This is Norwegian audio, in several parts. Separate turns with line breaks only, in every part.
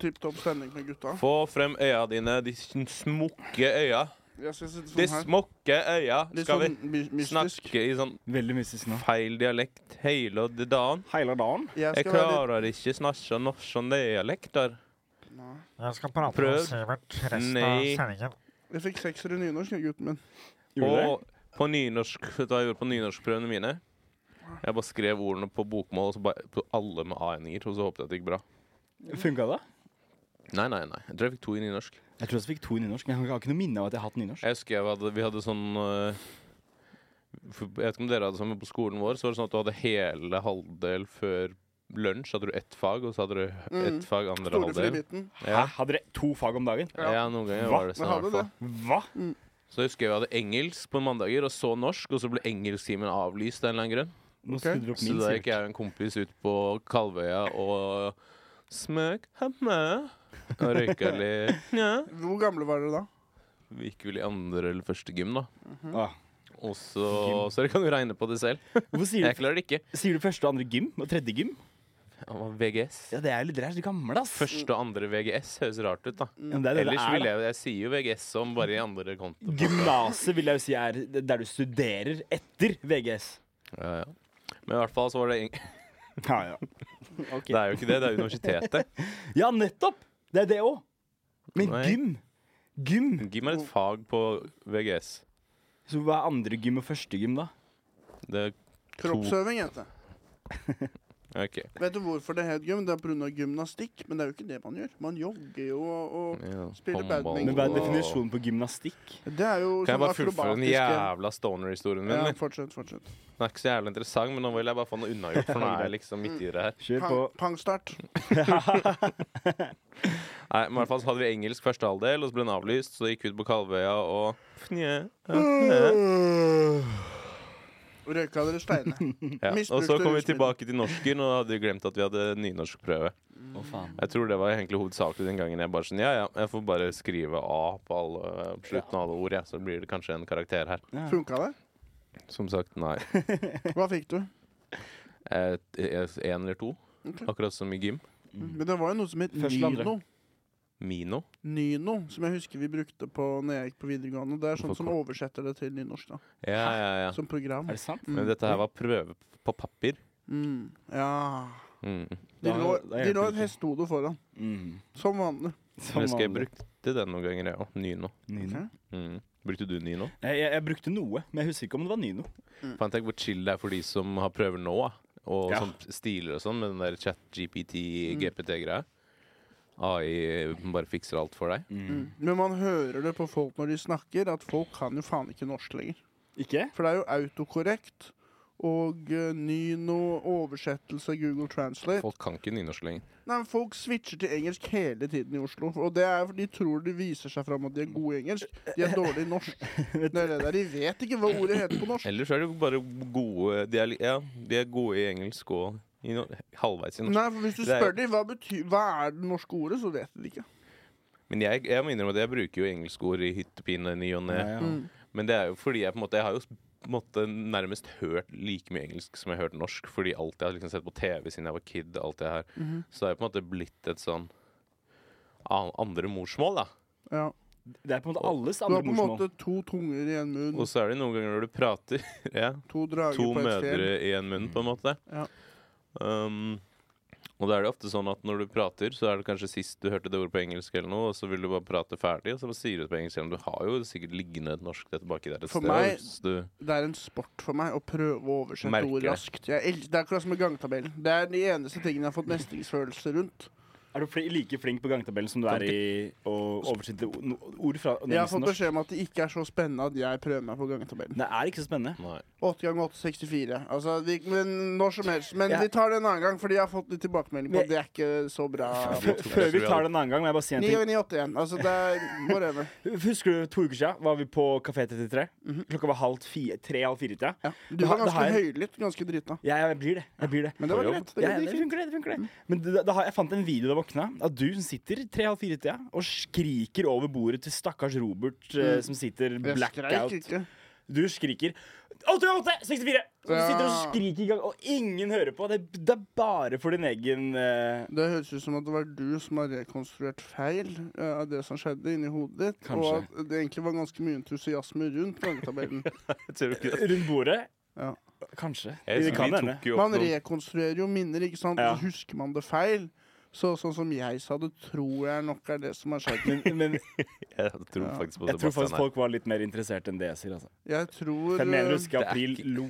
tipp topp stemning med gutta.
Få frem øya dine, de sn- smukke øya.
Jeg skal sitte
De
sånn her.
smukke øya.
Litt
Skal vi
sånn my- mystisk.
snakke i sånn
Veldig mystisk nå.
feil dialekt hele dagen?
Hele dagen.
Jeg
Jeg
skal være litt
klarer ikke snakke norske dialekter.
Nei.
Jeg skal prate
Prøv.
med Sivert resten av
Nei.
sendingen.
Jeg fikk sekser i nynorsk, jeg, gutten min.
Gjorde det?
Og på nynorsk, da jeg gjorde på nynorskprøvene mine Jeg bare skrev ordene på bokmål, og så bare på alle med a-endinger, og så håpet jeg at det gikk bra.
Funka det?
Nei, nei, nei. Jeg tror jeg fikk to i nynorsk.
Jeg tror jeg fikk to i nynorsk, men jeg har ikke noe minne av at jeg har hatt nynorsk.
Jeg husker jeg hadde, vi hadde sånn øh, for, Jeg vet ikke om dere hadde sånn, men på skolen vår så var det sånn at du hadde hele halvdel før lunsj. Hadde du ett fag, og så hadde du
Mm.
ett fag andre
Store
halvdel.
frimitten.
Ja.
Hæ? Hadde dere to fag om dagen?
Ja.
ja, noen ganger
Hva?
var det sånn.
Men
i hvert
hadde
fall.
det.
Hva?
Så husker jeg vi hadde engelsk på mandager, og så norsk, og så ble engelsktimen avlyst av en eller annen grunn.
Nå
Ok.
skrudde du opp
Så
min,
da gikk
Sivert.
jeg og en kompis ut på Kalvøya og smøk hemme og røyka litt. Ja.
Hvor gamle var dere da?
Vi gikk vel i andre eller første gym, da.
Ah.
Og så, så dere kan jo regne på det selv.
Hvorfor sier
Jeg
du,
klarer det ikke.
sier du første og andre gym? Og tredje gym?
Han var VGS.
Ja, det er jo litt rart. De gamle, ass.
Første og andre VGS høres rart ut, da.
Ja, men det er det det
Ellers
er,
vil
da.
jeg Jeg sier jo VGS som bare i andre konto.
Gymnaset vil jeg jo si er der du studerer etter VGS.
Ja, ja. Men i hvert fall så var det eng-
Ja, ja.
Det er jo ikke det, det er universitetet.
ja nettopp! Det er det òg. Men
Nei.
gym Gym.
Gym er et fag på VGS.
Så hva er andre gym og første gym, da?
Det er
Kroppsøving, heter det.
OK.
Vet du hvorfor det het gym? Det er pga. gymnastikk, men det er jo ikke det man gjør. Man jogger jo og og-
Ja,
Spiller
håndball
badminton.
Men hva er
og-
definisjonen på gymnastikk?
Det er jo
Kan
sånn
jeg bare fullføre den
akrobatiske-
jævla stoner-historien min?
Ja,
eller?
fortsett, fortsett.
Den er ikke så jævlig interessant, men nå vil jeg bare få noe unnagjort, for nå er jeg liksom midt i det her.
Kjør på.
Pang- Pangstart.
Nei, men i hvert fall så hadde vi engelsk første halvdel, og så ble den avlyst, så gikk vi ut på Kalvøya og Mm. Fnje, ja, fnje.
Røyka dere steine.
ja. Og så
Misbrukte
kom vi
rusmidler.
tilbake til norsken, og hadde glemt at vi hadde nynorskprøve.
Å, faen.
Jeg tror det var egentlig hovedsakelig den gangen jeg bare sånn Ja, ja, jeg får bare skrive A på alle, på slutten av alle ord, ja, så blir det kanskje en karakter her.
Funka det?
Som sagt, nei.
Hva fikk du?
Eh, En eller to.
Ok.
Akkurat som i gym.
Mm.
Men det var jo noe som het
Først eller andre?
Nino.
Mino.
Nino, som jeg husker vi brukte på når jeg gikk på videregående. Det er sånn
Hvorfor
som
kom-
oversetter det til nynorsk, da.
Ja, ja, ja.
Som program.
Er det sant?
Men dette her var prøve på papir.
Mm. Ja.
Mm.
De
Da-
lå, de lå
da hjelper
et
det ikke.
hestehode foran.
Mm.
Som vanlig.
Som
Jeg husker jeg
vanlig.
brukte den noen ganger, jeg òg. Nyno.
Nyno.
Ok?
Mm. Brukte du Nyno?
Jeg, jeg, jeg brukte noe, men jeg husker ikke om det var Nyno.
Fant jeg hvor chill det er for de som har prøver nå, og
Ja.
sånn stiler og sånn, med den der chat-GPT-GPT-greia. AI eh, bare fikser alt for deg.
Mm. Men man hører det på folk når de snakker, at folk kan jo faen ikke norsk lenger.
Ikke?
For det er jo autokorrekt og eh, Nino, oversettelse, Google Translate.
Folk kan ikke nynorsk lenger.
Nei, men Folk switcher til engelsk hele tiden i Oslo. Og det er fordi de tror de viser seg fram at de er gode i engelsk. De er dårlige i norsk. Det er det der. De vet ikke hva ordet heter på norsk.
Ellers er det jo bare gode De er, li- ja, de er gode i engelsk og i no halvveis i norsk.
Nei, for Hvis du
Det er-
spør dem hva, betyr, hva er det norske ordet, så vet de det ikke.
Men jeg, jeg må innrømme at jeg bruker jo engelskord i hyttepine ny og ne.
Mm.
Men det er jo fordi jeg på en måte Jeg har jo s- på en måte nærmest hørt like mye engelsk som jeg har hørt norsk, fordi alt jeg har liksom sett på TV siden jeg var kid, alt det her.
Mhm.
Så det er på en måte blitt et sånn an- andre morsmål, da.
Ja.
Det er på en måte alles
Du
andre
har på en
morsmål.
måte to tunger i en munn,
Og så er det noen ganger når du prater ja,
to drager
To
Mm. på et fjell.
mødre i en munn, på en måte.
Ja.
Um, og da er det ofte sånn at når du prater, så er det kanskje sist du hørte det ordet på engelsk, eller noe, og så vil du bare prate ferdig, og så bare sier du det på engelsk. Eller du har jo sikkert liggende et norsk der tilbake der et
For
sted.
meg-
hvis du-
Det er en sport for meg å prøve å oversette
Merker
ord
det.
raskt. Jeg el det er akkurat som med gangtabellen. Det er de eneste tingene jeg har fått mestringsfølelse rundt.
Er du fli- like flink på gangtabellen som du er i å oversette o- no- ord fra
Jeg har fått
norsk?
beskjed om at det ikke er så spennende at jeg prøver meg på gangtabellen.
Det er ikke så spennende.
Nei.
8 ganger 8, 64. Altså, vi, men når som helst. Men
Ja.
vi tar det en annen gang, fordi jeg har fått litt tilbakemelding på
Men-
at det er ikke så bra.
Jeg
Før
tror
før
jeg
vi
tror jeg
tar det en annen gang, må jeg bare si
9 og
en ting.
9, 8 igjen. Altså, det er whatever.
Husker du to uker siden var vi på Kafé 33? Klokka var halv fire, tre, halv fire i tida.
Mhm. Ja. Du
Det har-
var
det har
ganske
jeg-
høylytt, ganske drita.
Ja, jeg blir det. Jeg blir det.
Men det var
På
greit. Det
Ja,
går fint.
det
Mm.
funker, det. det funker det Men da, da har jeg fant en video da jeg våkna, at du som sitter tre-halv fire-tida og skriker over bordet til stakkars Robert eh, som sitter
Mm. Jeg skreik
blackout.
ikke.
Du skriker 88! 64! Og du
Ja.
sitter og skriker i gang, og ingen hører på. Det, det er bare for din egen eh,
Det høres ut som at det var du som har rekonstruert feil eh, av det som skjedde inni hodet ditt.
Kanskje.
Og at det egentlig var ganske mye entusiasme rundt poengtabellen.
Jeg tror ikke det.
Rundt bordet.
Ja.
Kanskje.
Jeg
Det
husker
kan
vi
hende.
tok jo opp
Man
noen
rekonstruerer jo minner, ikke sant?
Ja.
Og Så husker man det feil. Så, sånn som jeg sa det, tror jeg nok er det som har skjedd.
Men, men
Jeg tror faktisk på
jeg tror
Sebastian
faktisk
her.
folk var litt mer interessert enn det jeg sier. Altså.
Jeg tror
Jeg mener å
eh,
huske
Det er
april
ikke-
lo.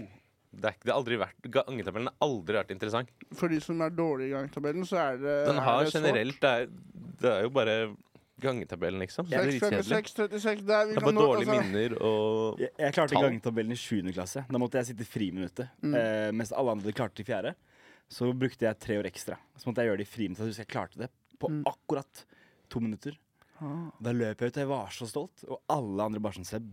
Det er ikke- det har aldri vært Gangetabellen har aldri vært interessant.
For de som er dårlige i gangtabellen, så Eh, er det
Den har
er det svart.
generelt Det er, det er jo bare gangetabellen, liksom. Det er
6,
dritkjedelig.
56, 36, der vi
Det er
kan
bare
nå
dårlige
altså,
minner og
Jeg, jeg klarte
Tall.
gangetabellen i 7. klasse. Da måtte jeg sitte i friminuttet. Eh, mens alle andre klarte det i fjerde. Så brukte jeg tre år ekstra. Så måtte jeg gjøre det i friminuttet. Så jeg klarte det på akkurat to minutter. Da løp jeg ut, og jeg var så stolt. Og alle andre bare sånn Seb,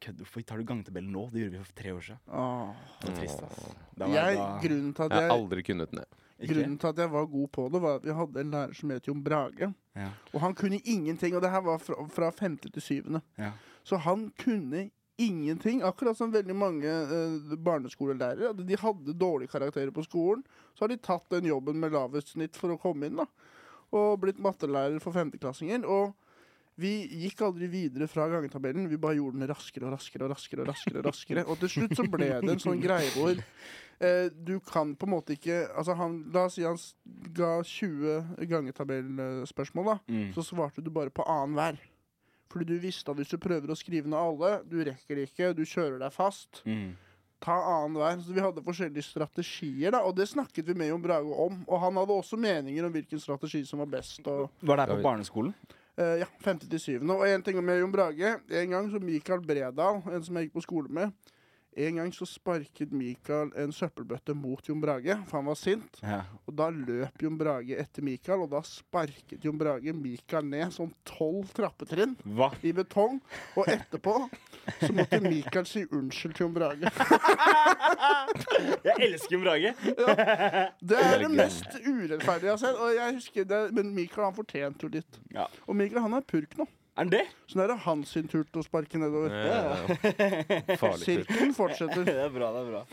kødd, hvorfor tar du gangetabellen nå? Det gjorde vi for tre år siden.
Åh.
Det var trist, ass. Da var
Ah. Jeg,
da-
grunnen, til at
Jeg har
jeg,
aldri kunnet den.
Ikke?
grunnen til at jeg var god på det, var at vi hadde en lærer som het Jon Brage.
Ja.
Og han kunne ingenting. Og det her var fra, fra femte til syvende.
Ja.
Så han kunne ingenting. Akkurat som veldig mange eh, barneskolelærere. at De hadde dårlige karakterer på skolen. Så har de tatt den jobben med lavest snitt for å komme inn, da. Og blitt mattelærer for femteklassinger. Og vi gikk aldri videre fra gangetabellen. Vi bare gjorde den raskere og raskere og raskere. Og raskere, og raskere. Og til slutt så ble det en sånn greie hvor eh, du kan på en måte ikke altså han, La oss si han s- ga 20 gangetabellspørsmål, da.
Mm.
Så svarte du bare på annenhver. Fordi du visste at hvis du prøver å skrive ned alle, du rekker det ikke, du kjører deg fast.
Mm.
Ta annenhver. Så vi hadde forskjellige strategier, da, og det snakket vi med Jon Brage om. Og han hadde også meninger om hvilken strategi som var best. og...
Var det her
David.
på barneskolen?
Eh, ja, femte til syvende. Og en ting om Jon Brage. En gang så Mikael Bredal, en som jeg gikk på skole med En gang så sparket Mikael en søppelbøtte mot Jon Brage, for han var sint.
Ja.
Og da løp Jon Brage etter Mikael, og da sparket Jon Brage Mikael ned sånn tolv trappetrinn
Hva?
i betong. Og etterpå så måtte Mikael si unnskyld til Jon Brage.
Jeg elsker Jon Brage!
Det er det mest urettferdige jeg har sett. Og jeg husker det, men Mikael han fortjente jo litt.
Ja.
Og Mikael han er purk nå,
Er han det?
så nå er det hans sin tur til å sparke nedover.
eh, Farlig. tur.
Sirkelen fortsetter.
Det er bra, det er bra.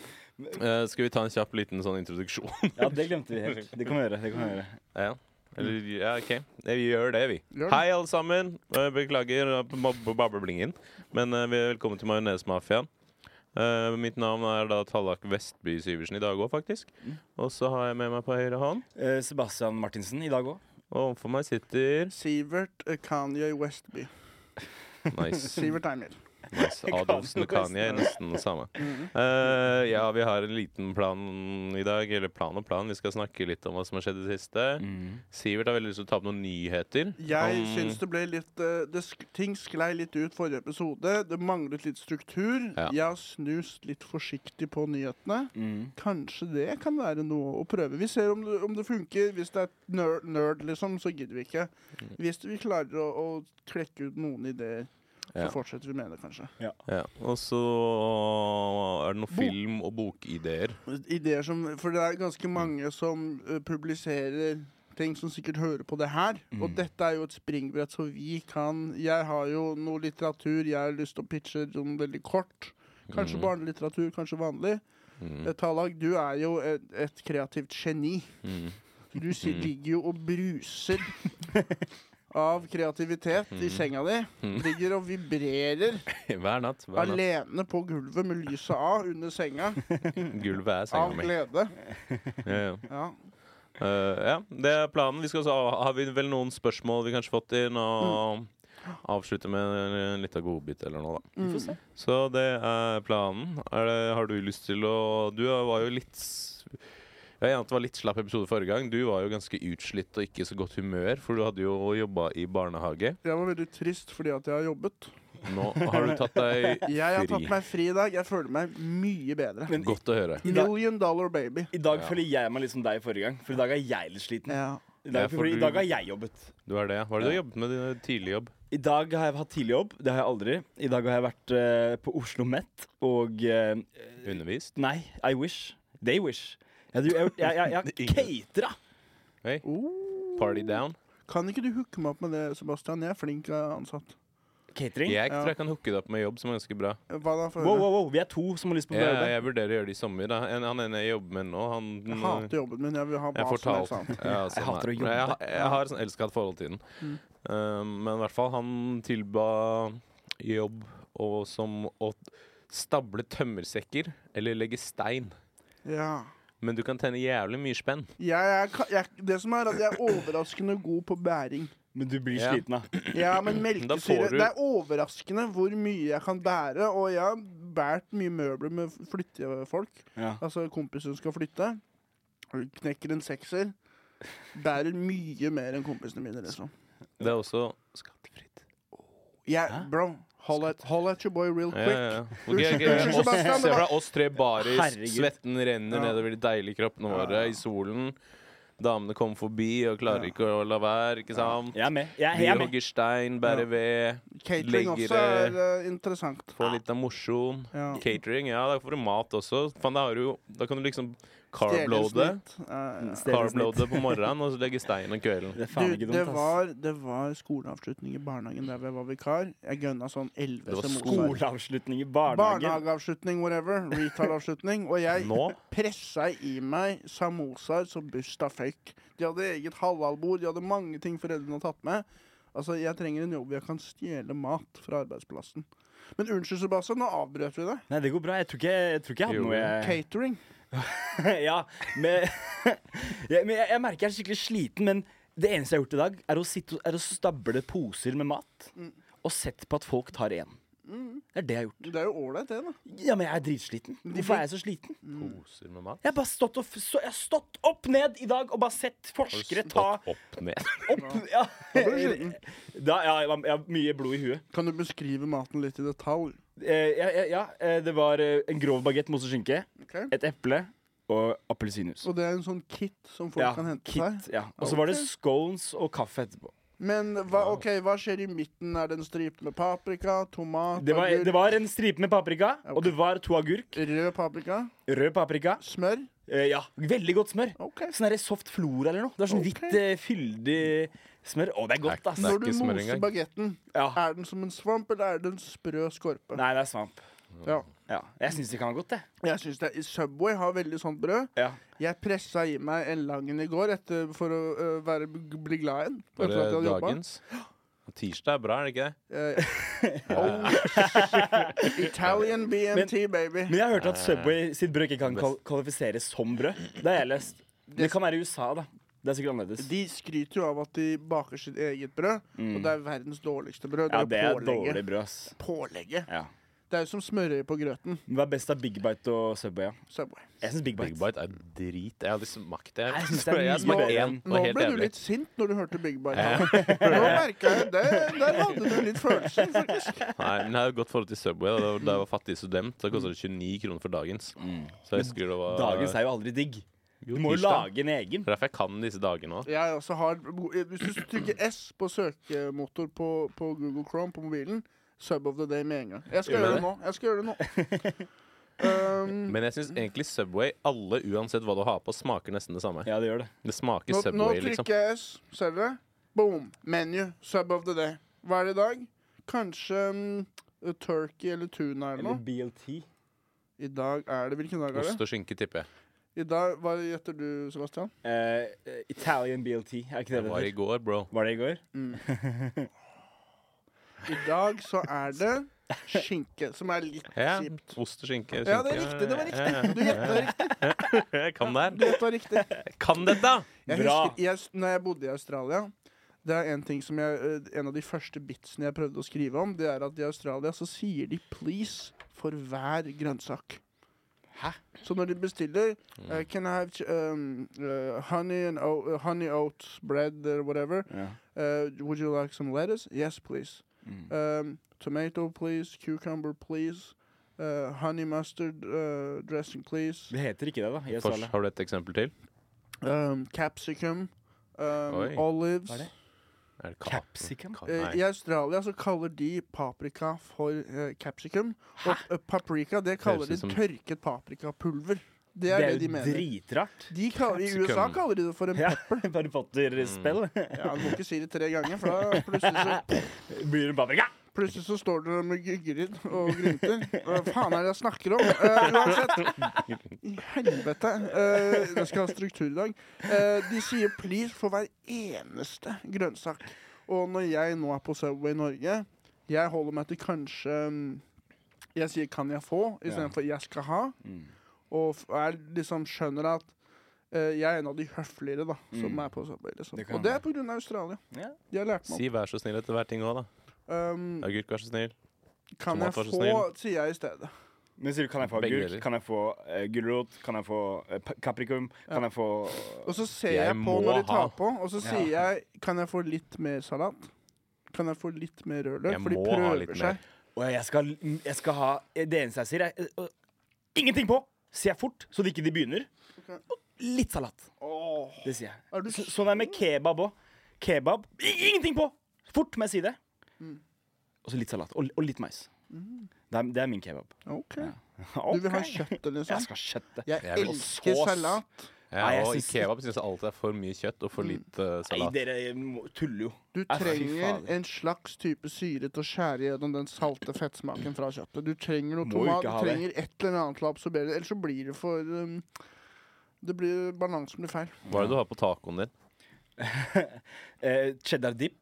Eh, Skal vi ta en kjapp liten sånn introduksjon?
Ja, det glemte vi helt. Det kan vi gjøre. Det kan vi gjøre.
Ja. Eller, ja, OK. Eh, Vi gjør det, vi.
Mm. Gjør det.
Hei, alle sammen. Eh, Beklager eh, mob- bableblingen. Men eh, vi er velkommen til Majonesmafiaen. Eh, mitt navn er da Tallak Vestby Syversen i dag òg, faktisk.
Mm.
Og så har jeg med meg på høyre hånd,
Eh, Sebastian Martinsen i dag òg.
og overfor meg sitter
Sivert eh, Kanye Westby.
Nice.
Sivert Eimer.
Nice. Adolfsen og Kanye er nesten det samme.
Mm.
Eh, ja, vi har en liten plan i dag. Eller plan og plan. Vi skal snakke litt om hva som har skjedd i det siste. Sivert har veldig lyst til å ta opp noen nyheter.
Mm. Jeg
om-
syns det ble litt eh, det sk Ting sklei litt ut forrige episode. Det manglet litt struktur.
Ja.
Jeg har snust litt forsiktig på nyhetene.
Mm.
Kanskje det kan være noe å prøve. Vi ser om det, om det funker. Hvis det er nerd, nerd liksom, så gidder vi ikke. Hvis vi klarer å, å klekke ut noen ideer, så
Ja.
fortsetter vi med det, kanskje.
Ja. Og så er det noen film- og bokideer.
Ideer som For det er ganske mange som eh, publiserer ting som sikkert hører på det her. Og dette er jo et springbrett, så vi kan Jeg har jo noe litteratur jeg har lyst til å pitche sånn veldig kort.
Mm.
Kanskje barnelitteratur, kanskje vanlig. Eh, Talag, du er jo et, et kreativt geni.
Mm.
Du si, ligger jo og bruser av kreativitet
Mm.
i senga di. Ligger og vibrerer
Hver natt. Hver natt.
alene på gulvet med lyset av under senga
Gulvet er
av
senga mi.
glede.
Ja, ja.
Ja.
Eh, ja, det er planen. Vi skal så, har vi vel noen spørsmål vi kanskje fått inn, og avslutte med en liten godbit eller noe, da.
Vi får se.
Så det er planen. Er det, har du lyst til å Du var jo litt s- jeg er enig at det var litt slapp episode forrige gang. Du var jo ganske utslitt og ikke i så godt humør, for du hadde jo jobba i barnehage.
Jeg var veldig trist fordi at jeg har jobbet.
Nå har du tatt deg
Jeg har tatt
fri.
meg fri i dag. Jeg føler meg mye bedre.
Men
Godt å høre.
i dag,
Million dollar baby.
i dag
Ja.
føler jeg meg litt som deg forrige gang, for i dag er jeg litt
Mm.
sliten.
Ja.
I
Ja,
dag,
for
for i
du-
dag har jeg jobbet.
Du er det, ja. Hva er det du har jobbet med i din tidlige jobb?
I dag har jeg hatt tidlig jobb. Det har jeg aldri. I dag har jeg vært eh, på Oslo Met og eh,
Undervist?
Nei, I wish. They wish. Jeg, jeg, jeg, jeg, jeg, jeg catera!
Hei.
Oh.
Party down?
Kan ikke du hooke meg opp med det, Sebastian? Jeg er flink eh, ansatt.
Catering?
Jeg
Ja.
tror jeg kan hooke det opp med jobb som er ganske bra.
Hva da? For
Wow, wow, wow, vi er to som har lyst på å
Jeg,
prøve det.
jeg vurderer å gjøre det i sommer. Da. En, han ene jeg jobber med nå, han
Jeg hater jobben min. Jeg vil ha
Jeg
hva som helst
fortalte
annet.
ja, sånn
Jeg hater
er.
å
Men Jeg,
jobbe.
ha- jeg har sånn elska et forhold til den. Um, men i hvert fall, han tilba jobb og som å stable tømmersekker eller legge stein.
Ja.
Men du kan tjene jævlig mye spenn.
Jeg er, ka- jeg, det som er at jeg er overraskende god på bæring.
Men du blir
Ja.
sliten, da.
Ja, men
Mm. Da får
melkesyre
du-
Det er overraskende hvor mye jeg kan bære. Og jeg har båret mye møbler med flyttefolk.
Ja.
Altså kompisen skal flytte. Knekker en sekser. Bærer mye mer enn kompisene mine, liksom.
Det er også skattefritt.
Jeg, bro, hold at, hold at your boy real
Ja,
quick.
ja, ja. Ok, ok,
Unnskyld,
oss-
Sebastian,
Se
men
for
da-
deg oss tre baris,
Herregud.
svetten renner
Ja.
nedover de deilige kroppene våre i solen. Damene kommer forbi og klarer ikke å la være, ikke sant?
Jeg er med. Jeg,
Vi
jeg er med.
hogger stein,
Ja.
bærer ved.
Catering
Legger
også er eh, interessant.
Få litt av mosjon.
Ja.
Catering, ja, da får du mat også. Fan, da, har du, jo- da kan du liksom carbloade.
Stjelersnitt,
Mm,
eh,
Stjelersnitt.
Carbloade på morgenen, og så legge stein om kvelden.
Mm, Det er faen
Du,
ikke
det
dumt, ass.
var, det var skoleavslutning i barnehagen der jeg var vikar. Jeg gønna sånn 11
Det var
semester.
Skoleavslutning i barnehagen.
Barnehageavslutning, whatever. Retail-avslutning. Og jeg
Nå?
pressa i meg samosaer som busta fikk. De hadde eget halalbord, de hadde mange ting foreldrene hadde tatt med. Altså, Jeg trenger en jobb hvor jeg kan stjele mat fra arbeidsplassen. Men unnskyld, Sebastian, nå avbrøt vi det.
Nei, det går bra. Jeg tror ikke jeg, tror ikke jeg hadde
Jo.
noe jeg...
Catering.
ja, men, ja, men jeg, jeg merker jeg er skikkelig sliten, men det eneste jeg har gjort i dag, er å, sitte, og- er å stable poser med mat
Mm.
og sett på at folk tar én. Det er det jeg har gjort.
Det er jo ålreit, det, da.
Ja, men jeg er dritsliten. Hvorfor er jeg så sliten?
Poser med mat.
Jeg har bare stått, og, f- så, jeg har stått opp ned i dag og bare sett forskere
Stått
ta
opp ned.
opp ja.
Da blir du sliten.
Da, ja, jeg var- jeg har mye blod i huet.
Kan du beskrive maten litt i detalj?
Eh, ja, ja, ja, eh, det var eh, en grov bagett med ost og skinke,
Ok?
et eple og appelsinjuice.
Og det er en sånn kit som folk
Ja,
kan hente seg.
kit, ja. Og så var det
Ok.
scones og kaffe etterpå.
Men hva, ok, hva skjer i midten? Er det en stripe med paprika, tomat,
Det var,
agurk,
det var en stripe med paprika, og det var to agurk.
rød paprika,
Rød paprika.
smør?
Eh, ja, veldig godt smør.
Ok.
Sånn derre soft flora eller noe. Det er sånn
Ok.
hvitt, eh, fyldig smør. Å, det er godt, ass.
Nei.
Når du
ikke smør
moser
engang.
bagetten,
Ja.
er den som en svamp, eller er det en sprø skorpe?
Nei, det er svamp.
Ja.
Ja, Jeg syns det kan være godt, det.
Jeg synes det, Subway har veldig sånt brød.
Ja.
Jeg pressa i meg Ellangen i går etter, for å øh, være, bli glad igjen.
Var
etter at jeg
det
hadde jobbet.
dagens? Tirsdag er bra, er det ikke det?
Eh, oh, shit. Italian BMT, baby.
Men jeg hørte at Subway sitt brød ikke kan kval kvalifiseres som brød. Det har jeg lest. Det kan være i USA, da. Det er sikkert annerledes.
De skryter jo av at de baker sitt eget brød, og det er verdens dårligste brød.
Mm. Ja, det er
pålegget.
dårlig brød, ass.
Pålegget.
Ja.
Det er jo som smørøye på grøten.
Men Hva er best av Big Bite og Subway? Ja?
Subway.
Jeg syns Big Bite.
Big Bite er drit. Jeg har liksom smakt det.
Nei, jeg synes det er
Jeg har
mye
smakt
bedre
én.
enn-
Det
Nå
var helt
ble du
jævlig.
litt sint når du hørte Big Bite. Nå merka jeg det. Der hadde du litt følelser, faktisk.
Nei, men jeg har et godt forhold til Subway. Da, da jeg var fattig student, så kosta det 29 kroner for dagens. Så jeg husker det var
Dagens er jo aldri digg.
Jo,
Du må jo
tirsdag.
lage en egen.
Det er derfor jeg kan disse dagene òg.
Jeg også har eh, Hvis du trykker S på søkemotor på, på Google Chrome på mobilen, Sub of the Day med en gang. Jeg skal
Gjør
gjøre
det?
det nå. Jeg skal gjøre det nå. Um,
Men jeg syns egentlig Subway, alle uansett hva du har på, smaker nesten det samme.
Ja, det gjør det.
Det smaker
Nå, nå
Subway, liksom.
trykker jeg S. Ser dere? Boom. Menu. Sub of the day. Hva er det i dag? Kanskje mm, turkey eller tuna eller noe.
BLT.
I dag er det Hvilken dag er
Ost
det?
og skinke, tipper jeg.
I dag, Hva gjetter du, Sebastian?
Eh, Italian BLT, er ikke det
Det
det
var i
heter?
går, bro.
Var det i går?
I dag så er det skinke, som er litt
Ja.
kjipt.
Ost og skinke.
Ja, det er riktig. Det var riktig. Du gjetta riktig.
riktig. Jeg kan
Du
det her.
gjettet riktig.
Kan dette!
Jeg
Bra.
husker, jeg, når jeg bodde i Australia det er en, ting som jeg, eh, en av de første bitsene jeg prøvde å skrive om, det er at i Australia så sier de 'please' for hver grønnsak.
Hæ?
Så når de bestiller eh, 'Can I have ch- um, eh, honey, and o eh, honey oats bread or whatever?
Ja.
Eh, would you like some lettuce? Yes, please.
Mm.
Um, tomato, please. Cucumber, please. Eh, honey mustard eh, dressing, please.
Det heter ikke det, da. I
Fors,
Australia.
har du et eksempel til?
Um, capsicum.
Oi.
Um,
Hva er
olives.
det?
Er det ka-
Capsicum?
ka-
Eh, I
Nei.
Australia så kaller de paprika for eh, capsicum. Og eh, paprika det kaller
Høres
de
ut som-
tørket paprikapulver. Det
Det
er det,
er jo
de mener.
dritrart.
De kaller, I
Capsicum.
USA kaller de det for en
Ja,
pep...
Harry Potter-spill.
Ja, du må ikke si det tre ganger, for da plutselig så
Mm.
Blir det paprika?
Plutselig så står dere med Gygrid og grynter. Hva faen er det jeg snakker om? Eh, uansett. I helvete. Eh, jeg skal ha struktur i dag. Eh, de sier please for hver eneste grønnsak. Og når jeg nå er på Subway Norge, jeg holder meg til kanskje mm, Jeg sier 'kan jeg få' istedenfor 'jeg skal ha'.
Mm.
Og f- er liksom skjønner at eh, jeg er en av de høfligere da, som
Mm.
er på Subway. Liksom.
Det kan
og det er på grunn av Australia.
Ja.
De har lært meg opp.
Si vær så snill etter hver ting òg, da.
Um,
Agurk, vær så snill.
kan jeg
tomat, vær så
få, sier jeg i stedet.
Men sier du kan jeg få
Begge
agurk,
deler.
kan jeg få uh, gulrot, kan jeg få eh, pa- kaprikum, kan jeg få
Og så ser jeg,
Jeg
på
må
når de tar
ha.
på, og så sier jeg Kan jeg få litt mer salat? Kan jeg få litt mer rødløk?
Jeg
For de
må ha litt
prøver
mer.
seg.
Og jeg skal, jeg skal ha Det eneste jeg sier, er eh, eh, ingenting på! Sier jeg fort, så de ikke de begynner.
Ok.
Og litt salat.
Åh,
Det sier jeg.
er du
Så, sånn er det med kebab òg. Kebab i- ingenting på! Fort må jeg si det.
Mm.
Og så litt salat. Og, og litt mais.
Mm.
Det er, det er min kebab.
OK.
Ja.
Du vil ha
Ok.
kjøttet,
Jeg
liksom?
skal ha kjøttet.
Jeg
Jeg vil-
elsker
Sås.
salat.
Ja,
Nei, jeg
og i
syns-
kebab syns jeg alltid det er for mye kjøtt og for
Mm.
lite eh,
Nei,
salat.
dere må- tuller jo.
Du
Nei, fy
trenger
fader.
en slags type syre til å skjære gjennom den salte fettsmaken fra kjøttet. Du trenger noe
Må jo
tomat,
ikke
du
ha det.
trenger et eller annet til å absorbere det. Ellers så blir det for um, det blir, Balansen blir feil.
Hva er det du har på tacoen din?
Eh, cheddar dip,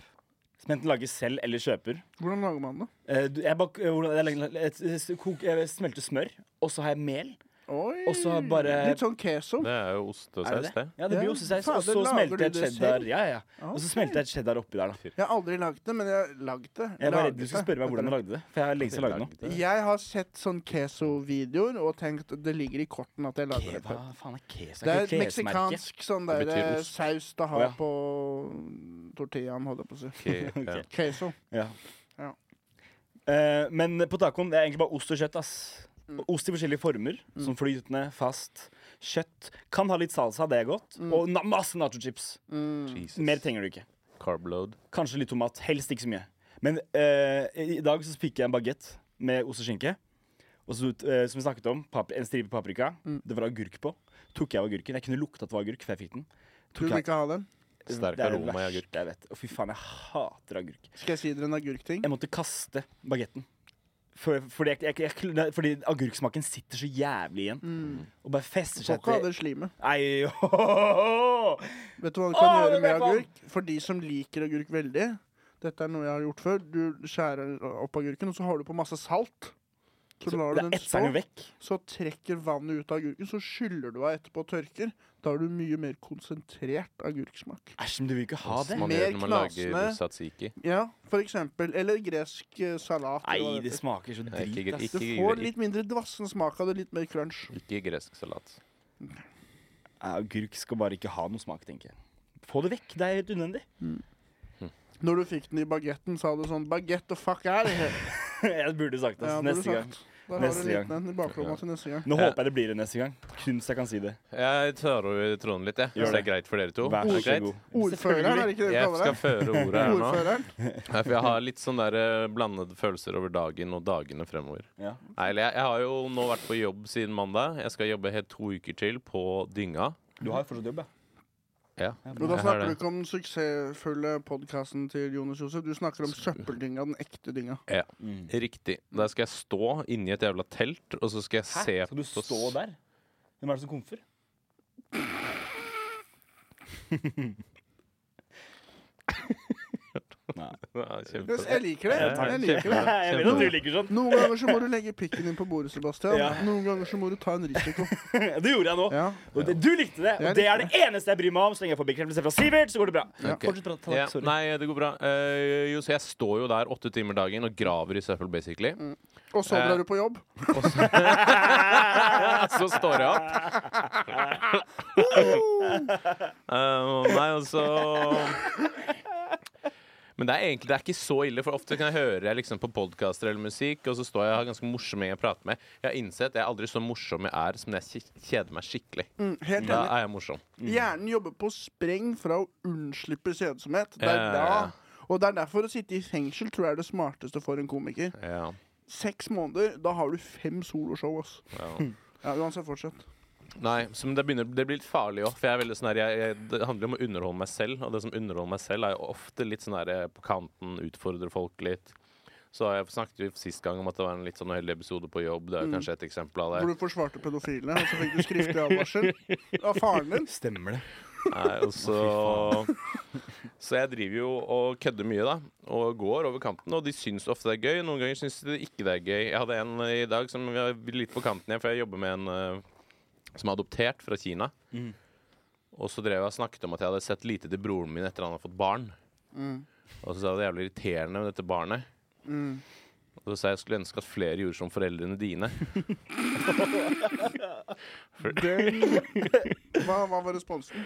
som enten lager selv eller kjøper.
Hvordan lager man det?
Eh, du- jeg, bak, eh, hvordan- jeg, legger- jeg, jeg, kok- jeg smelter smør, og så har jeg mel.
Oi!
Og så bare-
Litt sånn keso.
Det er jo
Er
ostesaus,
det
det.
det? Ja, det blir
Ja.
ostesaus.
Fader,
Og så
lager
smelter
du
jeg
det
cheddar
selv?
ja, ja. Og så
Ok.
smelter jeg cheddar oppi der, da.
Jeg har aldri lagd det, men jeg har lagd det.
Jeg var redd
Laget
du
det.
skulle spørre meg hvordan du lagde det. For jeg har lenge siden lagd noe.
Jeg har sett sånn keso-videoer og tenkt at det ligger i korten at jeg lager det.
Hva faen er kesa?
Det er et
klesmerke.
meksikansk sånn der
Det betyr
eh,
ost.
saus det har
Å, ja.
på tortillaen, holdt jeg på å si.
Ok, ja.
Ok.
Queso.
Ja.
Ja.
Eh, men på tacoen det er egentlig bare ost og kjøtt. ass
Mm.
Ost i forskjellige former, som flytende, fast. Kjøtt. Kan ha litt salsa, det er godt.
Mm.
Og na masse nachochips.
Jesus.
Mer trenger du ikke.
Carb load.
Kanskje litt tomat. Helst ikke så mye. Men eh, i dag så fikk jeg en bagett med ost og skinke. Og så, eh, som vi snakket om, papri en stripe paprika.
Mm.
Det var agurk på. Tok jeg av agurken. Jeg kunne lukte at det var agurk, for jeg fikk den.
Du vil ikke ha den?
Sterk
det er det
aroma i
verste
agurk.
Jeg vet. Å, fy faen, jeg hater agurk.
Skal jeg si dere en agurkting?
Jeg måtte kaste bagetten. For, fordi, jeg, jeg, jeg, fordi agurksmaken sitter så jævlig igjen.
Mm.
Og bare fester
Får
seg
ikke ha det slimet.
Nei, ååå!
Vet du hva du
Å,
kan
det
gjøre
ble
med
vann!
agurk? For de som liker agurk veldig Dette er noe jeg har gjort før. Du skjærer opp agurken, og så har du på masse salt. Så lar du
Det
den
etser
stå,
den jo vekk.
så trekker vannet ut av agurken, så skyller du av etterpå og tørker. Da har du mye mer konsentrert agurksmak.
Æsj, men du vil ikke ha det.
Man
Mer
gjør når man lager
knasende.
satsiki.
Ja, for eksempel. Eller gresk eh, salat.
Nei,
eller hva
det
heter.
smaker så
Nei, ikke
drit, ass.
du
ikke-
får litt mindre dvassen smak av det, litt mer crunch.
Ikke gresk salat.
Ja, Agurk skal bare ikke ha noe smak, tenker jeg. Få det vekk. Det er helt unødvendig.
Når du fikk den i bagetten, sa du sånn Bagett the fuck er det?
jeg burde sagt det
Ja,
ass,
burde
neste gang.
sagt. Da har du
Neste
en liten en i baklomma
Ja.
til neste gang.
Nå
Ja.
håper jeg det blir det neste gang. Kun så jeg kan si det.
Jeg tar over tråden litt, jeg.
Gjør
Hvis det er
det.
greit for dere to.
Vær
Er
så
det greit?
god.
Ordføreren, er det ikke det vi
Jeg
kaller
skal
det?
føre ordet her nå.
Ordføreren?
Nei, for jeg har litt sånn der eh, blandede følelser over dagen og dagene fremover.
Ja.
Nei, eller jeg, jeg har jo nå vært på jobb siden mandag. Jeg skal jobbe helt to uker til på Dynga.
Du har jo fortsatt jobb, ja.
Ja.
Og da
Jeg har
snakker du
det.
ikke om den suksessfulle podkasten til Jonas Josef. Du snakker om søppeldynga, den ekte dynga.
Mm.
Riktig. Der skal jeg stå inni et jævla telt, og så skal jeg se
Skal du
på s-
stå der? Hvem er det som komfer? Nei.
Ja, kjempe-
Yes, jeg liker det.
Ja,
Jeg
takk.
liker det.
Kjempebra.
Jeg vet at du liker sånn.
Noen ganger så må du legge pikken din på bordet, Sebastian.
Ja.
Noen ganger så må du ta en risiko.
Det gjorde jeg nå.
Ja.
Og det, du likte det.
Jeg
Og det er det eneste jeg bryr meg om. Så lenge jeg får bekreftelse fra Sivert, så går det bra.
Ja.
Ok.
Fortsett å prate.
Ja,
Sorry.
nei, det går bra. Eh, jo, så jeg står jo der åtte timer dagen og graver i søppel, basically.
Og så drar du på jobb.
Og så, så står jeg opp. Eh, nei, altså Men det er egentlig det er ikke så ille, for ofte kan jeg høre jeg liksom på podkaster eller musikk, og så står jeg og har ganske morsomme jeg prater med. Jeg har innsett jeg er aldri så morsom jeg er som når jeg kj- kjeder meg skikkelig.
Mm, helt
Da
enig.
er jeg morsom.
Hjernen jobber på spreng fra å unnslippe kjedsomhet. Det
Ja,
er
ja,
da.
ja.
Og det er derfor å sitte i fengsel tror jeg er det smarteste for en komiker.
Ja,
Seks måneder, da har du fem soloshow, ass.
ja.
Ja, uansett, fortsett.
Nei, så, men det, begynner, det blir litt farlig òg. For jeg er veldig sånn her, jeg, jeg, det handler om å underholde meg selv, og det som underholder meg selv, er jo ofte litt sånn her eh, på kanten, utfordrer folk litt. Så har jeg snakket vi sist gang om at det var en litt sånn uheldig episode på jobb. Det er jo kanskje et eksempel av det.
Mm. Hvor du forsvarte pedofilene, og så fikk du skriftlig advarsel av faren din.
Stemmer det.
Nei, og så Så jeg driver jo og kødder mye, da. Og går over kanten. Og de syns ofte det er gøy. Noen ganger syns de ikke det er gøy. Jeg hadde en eh, i dag som var litt på kanten igjen, for jeg jobber med en eh, som er adoptert fra Kina.
Mm.
Mhm.
Og så drev jeg og snakket om at jeg hadde sett lite til broren min etter han hadde fått barn.
Mm.
Og så sa jeg det er jævlig irriterende med dette barnet.
Mm.
Og så sa jeg jeg skulle ønske at flere gjorde som foreldrene dine.
Den, hva, hva var responsen?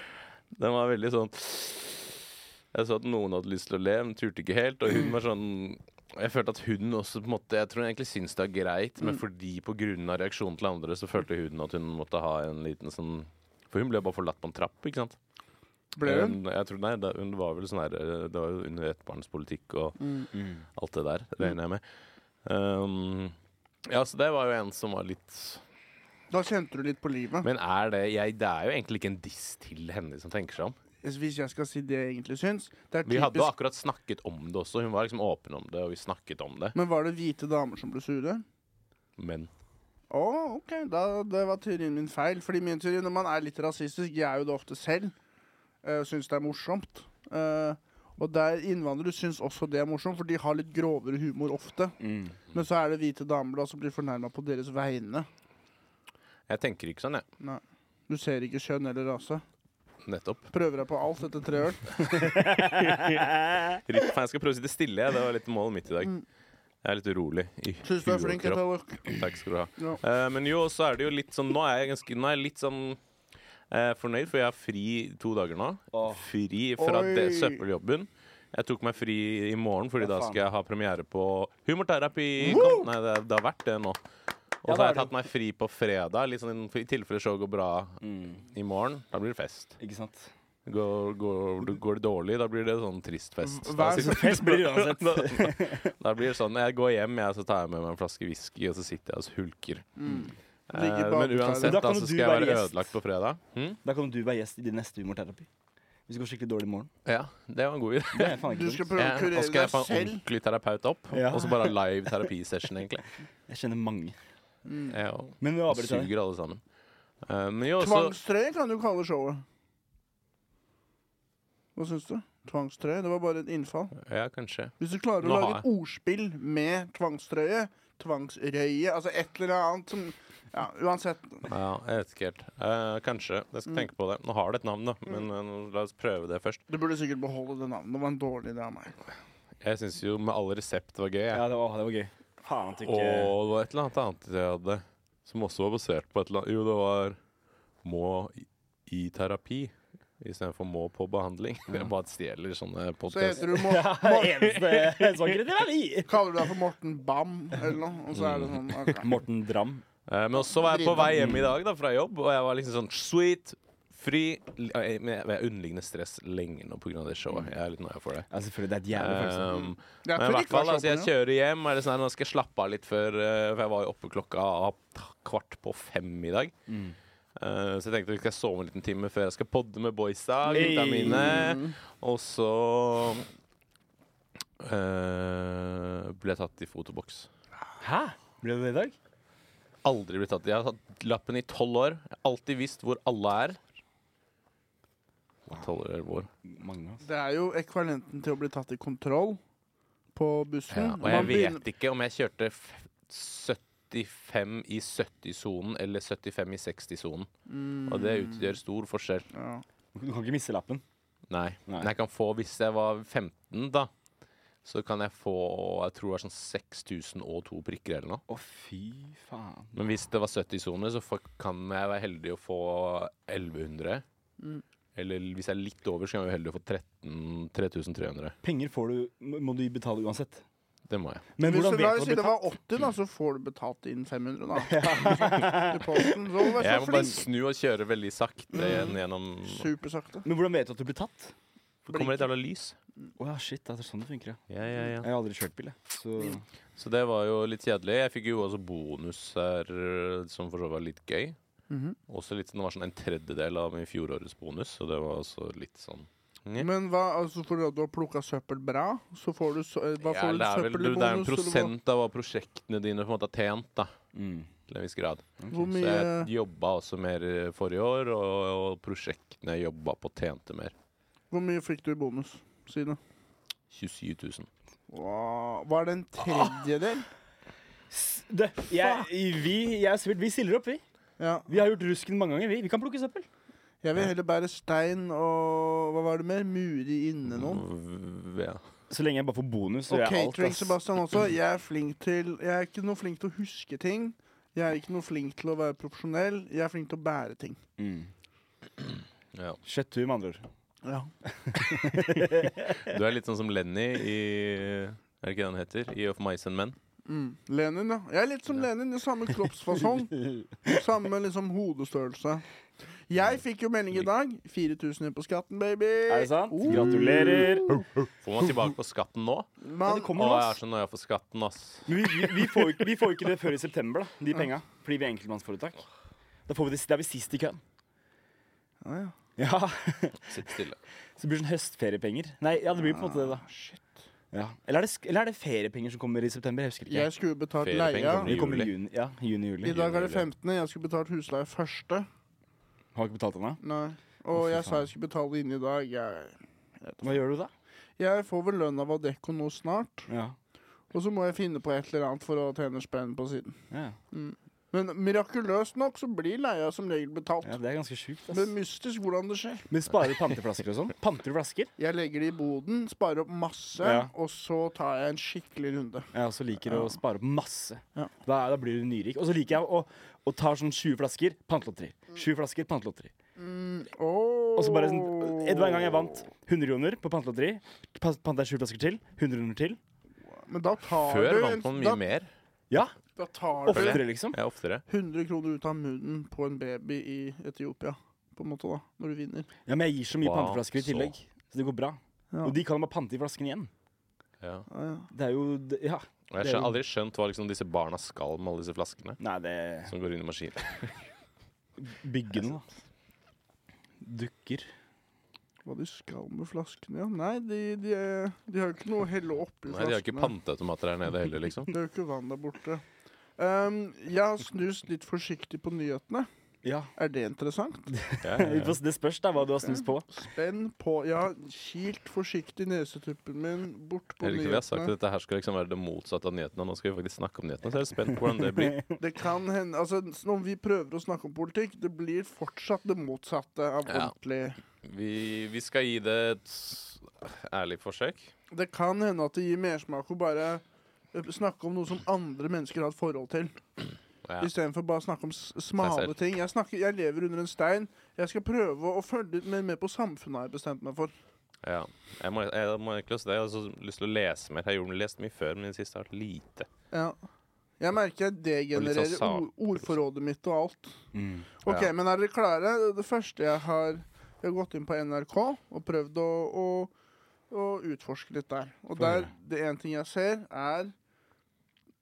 Den var veldig sånn Jeg så at noen hadde lyst til å le, men turte ikke helt. Og hun var sånn Jeg følte at hun også på en måte Jeg tror hun egentlig syns det er greit,
Mm.
men fordi på grunn av reaksjonen til andre, så følte hun at hun måtte ha en liten sånn For hun ble bare forlatt på en trapp, ikke sant?
Ble hun?
Jeg tror, nei, det, hun var vel sånn her eh, Det var jo under ettbarnspolitikk og
Mm.
alt det der, regner jeg med. Um, ja, så det var jo en som var litt
Da kjente du litt på livet.
Men er det jeg, Det er jo egentlig ikke en diss til henne som tenker seg om.
Hvis jeg skal si det jeg egentlig syns det er
Vi hadde jo
typisk,
akkurat snakket om det også. Hun var liksom åpen om det, og vi snakket om det.
Men var det hvite damer som ble sure?
Men
Å, OK. Da, det var teorien min feil. Fordi min teori, når man er litt rasistisk, jeg er jo det ofte selv, uh, syns det er morsomt. Eh, og der innvandrere syns også det er morsomt, for de har litt grovere humor ofte.
Mm,
Men så er det hvite damer da som blir fornærma på deres vegne.
jeg tenker ikke sånn, jeg.
Du ser ikke kjønn eller rase.
Nettopp.
Prøver deg på alt etter tre øl.
Riktig, faen, jeg skal prøve å sitte stille. jeg. Det var litt målet mitt i dag.
Mm.
Jeg er litt urolig. i
Syns du
huet
er
og
flink,
kropp.
Etalok.
Takk skal du ha.
Ja.
Eh, men jo, så er det jo litt sånn Nå er jeg, ganske, nå er jeg litt sånn eh, fornøyd, for jeg har fri to dager nå.
Åh.
Fri fra
Oi.
det- søppeljobben. Jeg tok meg fri i morgen, Fordi
Ja,
da
faen.
skal jeg ha premiere på Humorterapi. Kom, nei, det, det har vært det nå. Og
Ja,
så har
da
jeg
er
tatt meg fri på fredag, litt sånn i tilfelle showet går bra i morgen. Da blir det fest.
mm. Ikke sant?
Går, går, går det dårlig, da blir det sånn trist fest. Da,
Hver
sitter-
Fest blir det uansett.
da, da blir det sånn Jeg går hjem, jeg, så tar jeg med meg en flaske whisky, og så sitter jeg og så hulker.
Ligger
Eh,
Mm. i
men
badekaret.
uansett,
Da
da,
kan
så
du
skal jeg
være
være
gjest.
ødelagt på fredag. Hm?
Da kan du være gjest i din neste humorterapi. Hvis det går skikkelig dårlig i morgen.
Ja, det var en god idé.
Det er faen
Du
ikke
skal
dumt.
prøve å
Eh, Og
kurere
så skal
deg
jeg få en
selv.
ordentlig terapeut opp,
Ja.
og så bare live terapisession, egentlig.
Jeg kjenner mange.
Mm.
Ja, og
Men vi avbryter deg.
suger alle sammen. Eh, men jo, så
Tvangstrøye kan du kalle showet. Hva syns du? Tvangstrøye? Det var bare et innfall.
Ja, kanskje.
Hvis du klarer å
Nå har
lage et ordspill med tvangstrøye, tvangsrøye, altså et eller annet som Ja, uansett.
Ja, jeg vet ikke helt. Eh, kanskje. Jeg skal tenke på det. Nå har det et navn, da, men eh, la oss prøve det først.
Du burde sikkert beholde det navnet. Det var en dårlig idé av meg.
Jeg syns jo Med alle resept var gøy. Jeg.
Ja, det var, det var gøy. Faen at du
Og
ikke
det var et eller annet annet jeg hadde som også var basert på et eller annet Jo, det var må i, i terapi istedenfor må på behandling. Jeg bare stjeler sånne
Så
podkast.
heter du Mor
Ja,
Mor
det sånn eneste svakhet er vi!
Kaller du deg for Morten Bam eller noe, og så er det sånn ok.
Morten Dram.
Eh, Men også var jeg på
Driver.
vei hjem i dag da fra jobb, og jeg var liksom sånn sweet, fri li- Jeg men jeg- jeg underligner stress lenge nå pga. det showet. Jeg er litt nøye for det.
Ja, selvfølgelig. Det er et jævlig følelse.
Um,
Jeg
men i
tror
hvert
ikke det
fall,
var
altså, jeg
shopping, ja.
kjører hjem. Er det sånn, her, nå skal jeg slappe av litt før eh, For jeg var jo oppe klokka kvart på fem i dag.
Mm.
Eh, så jeg tenkte jeg skal sove en liten time før jeg skal podde med boysa, gutta
Hey.
mine. Og så eh, ble jeg tatt i fotoboks.
Hæ? Ble det det i dag?
Aldri blitt tatt. Jeg har tatt lappen i tolv år. Jeg har Alltid visst hvor alle er. Tolv år hvor.
Mange, altså.
Det er jo ekvivalenten til å bli tatt i kontroll på bussen.
Ja, og
Man
jeg
begynner-
vet ikke om jeg kjørte f 75 i 70-sonen eller 75 i 60-sonen. Og det utgjør stor forskjell.
Mm. ja.
Du kan ikke miste lappen.
Nei.
Nei.
Men jeg kan få, hvis jeg var 15, da, så kan jeg få jeg tror det er sånn 6002 prikker eller noe.
Å, fy faen.
Men hvis det var 70-sone, så får- kan jeg være heldig å få 1100.
Mm.
Eller hvis jeg er litt over, så kan jeg være heldig å få 13 3300.
Penger får du, må må du betale uansett.
Det må jeg.
Men
Hvis
hvordan
du la
vet
oss
du
si
at du
det
blir
var 80, da, så får du betalt inn 500, da. I posten. Så vær så
Jeg må bare
flink. Mm.
snu og kjøre veldig sakte igjen gjennom
Supersakte.
Men hvordan vet du at du blir tatt?
Det kommer et jævla lys.
Å ja, shit. Det er sånn det funker, ja.
Ja, ja, ja.
Jeg har aldri kjørt bil, jeg. Så
Så det var jo litt kjedelig. Jeg fikk jo også bonus her, eh, som for så vidt var litt gøy.
Mhm.
Også litt, Det var sånn en tredjedel av min fjorårets bonus, så det var også litt sånn Nja.
Men hva, altså fordi at du har plukka søppel bra, så får du så, eh, Hva
Ja,
får du
det er vel
søppel i
du, det er en
bonus? eller hva?
prosent av hva prosjektene dine på en måte har tjent, da.
Mm.
Til en viss grad.
Hvor
Så
mye
jeg jobba også mer eh, forrige år, og, og prosjektene jeg jobba på, tjente mer.
Hvor mye fikk du i bonus, Sine?
27 000.
Wow. Var det en tredjedel?
S- Du, jeg, vi, jeg og Sivert, vi stiller opp, vi.
Ja.
Vi har gjort rusken mange ganger, vi. Vi kan plukke søppel.
Jeg vil heller bære stein og Hva var det mer? Mure inne noen?
V- Ja.
Så lenge jeg bare får bonus, så
Og
gjør jeg alt.
catering,
ass.
Sebastian, også. Jeg er flink til Jeg er ikke noe flink til å huske ting. Jeg er ikke noe flink til å være profesjonell. Jeg er flink til å bære ting.
Mm.
Ja.
Kjøtttur, med andre ord.
Ja.
Du er litt sånn som Lenny i Er det ikke det han heter? I Of Mice and Men.
Mm. Lenin, ja. Jeg er litt som Lenin. i Samme kroppsfasong. Samme liksom hodestørrelse. Jeg fikk jo melding i dag. 4000 inn på skatten, baby.
Er det sant?
Oh.
Gratulerer.
Får man tilbake på skatten nå?
Ja,
Man,
Å,
det kommer nå,
jeg er
ass.
så nøye for skatten, ass.
Men vi, vi, vi, får jo ikke, vi får jo ikke det før i september, da, de penga. Fordi vi er enkeltmannsforetak. Da får vi det, da er vi sist i køen.
ja, ja.
Ja,
Sitt stille.
Så det blir sånn høstferiepenger. Nei, ja, det blir på en måte det, da.
Ah, Shit.
Ja. Eller, er det, sk- eller er det feriepenger som kommer i september? Jeg husker ikke.
Jeg skulle betalt
Feriepenger
leia.
kommer
Det kommer i
Juli.
juni. Ja, juni-juli.
I dag er det 15. Jeg skulle betalt husleie første.
Har ikke betalt ennå.
Nei.
Å,
Og
fy
jeg sa
faen.
jeg skulle betale inn i dag. Jeg,
Hva gjør du da?
jeg får vel lønn av Adecco nå snart.
Ja.
Og så må jeg finne på et eller annet for å tjene spenn på siden.
Ja.
Men mirakuløst nok så blir leia som regel betalt.
ja, det er ganske sjukt. ass.
Men mystisk hvordan det skjer.
Men sparer du panteflasker og sånn? Panter du flasker?
Jeg legger det i boden, sparer opp masse,
Ja.
og så tar jeg en skikkelig runde.
Jeg også liker å spare opp masse.
Ja.
Da, da blir du nyrik. Og så liker jeg å, å ta sånn 20 flasker, pantelotteri. 20 flasker, pantelotteri.
Mm,
Og så bare sånn Det var en gang jeg vant 100 kroner på pantelotteri. pa- Panta jeg 20 flasker til. 100 kroner til.
Men da tar
Før
du
vant man
da,
mye mer.
Ja,
da tar du
oftere, liksom.
Ja, oftere.
100 kroner ut av munnen på en baby i Etiopia, på en måte, da, når du vinner.
Ja, Men jeg gir så mye
Wow,
panteflasker i
så.
tillegg, så det går bra.
Ja.
Og de kan jo bare pante i flasken igjen.
Ja.
Ja, ja.
Det er jo det- Ja.
Og Jeg har aldri skjønt hva liksom disse barna skal med alle disse flaskene
Nei, det
som går inn i maskinen.
Bygge noe, da. Dukker.
Hva de skal med flaskene, ja. Nei, de, de, er- de har jo ikke noe å helle oppi
Nei, De har ikke
flaskene.
panteautomater her nede heller, liksom.
Det er jo ikke vann der borte. Um, jeg har snust litt forsiktig på nyhetene.
Ja.
Er det interessant?
Ja, ja, ja.
Det spørs da hva du har snust på.
Spenn på. Jeg har kilt forsiktig nesetuppen min bort på
Jeg liker vi har sagt at
nyhetene.
dette her skal liksom være det motsatte av nyhetene. Nå skal vi faktisk snakke om nyhetene, så jeg er spent på hvordan det blir.
Det kan hende Altså, når vi prøver å snakke om politikk, det blir fortsatt det motsatte av
Ja.
ordentlig
Vi, vi skal gi det et ærlig forsøk.
Det kan hende at det gir mersmak å bare eh, snakke om noe som andre mennesker har et forhold til.
Ja.
Istedenfor bare å snakke om s- smale
selv.
ting. Jeg, snakker, jeg lever under en stein. Jeg skal prøve å følge litt mer med på samfunnet, har jeg bestemt meg for.
Ja. Jeg må, jeg må egentlig også det. Jeg har også lyst til å lese mer. Jeg har gjort- lest mye før, men i det siste har jeg vært lite.
Ja. Jeg merker jeg degenererer
sa-
ord, ordforrådet mitt og alt.
Mm.
Ok,
Ja.
men er dere klare? Det første jeg har Jeg har gått inn på NRK og prøvd å, å, å utforske litt der. Og der, det ene ting jeg ser, er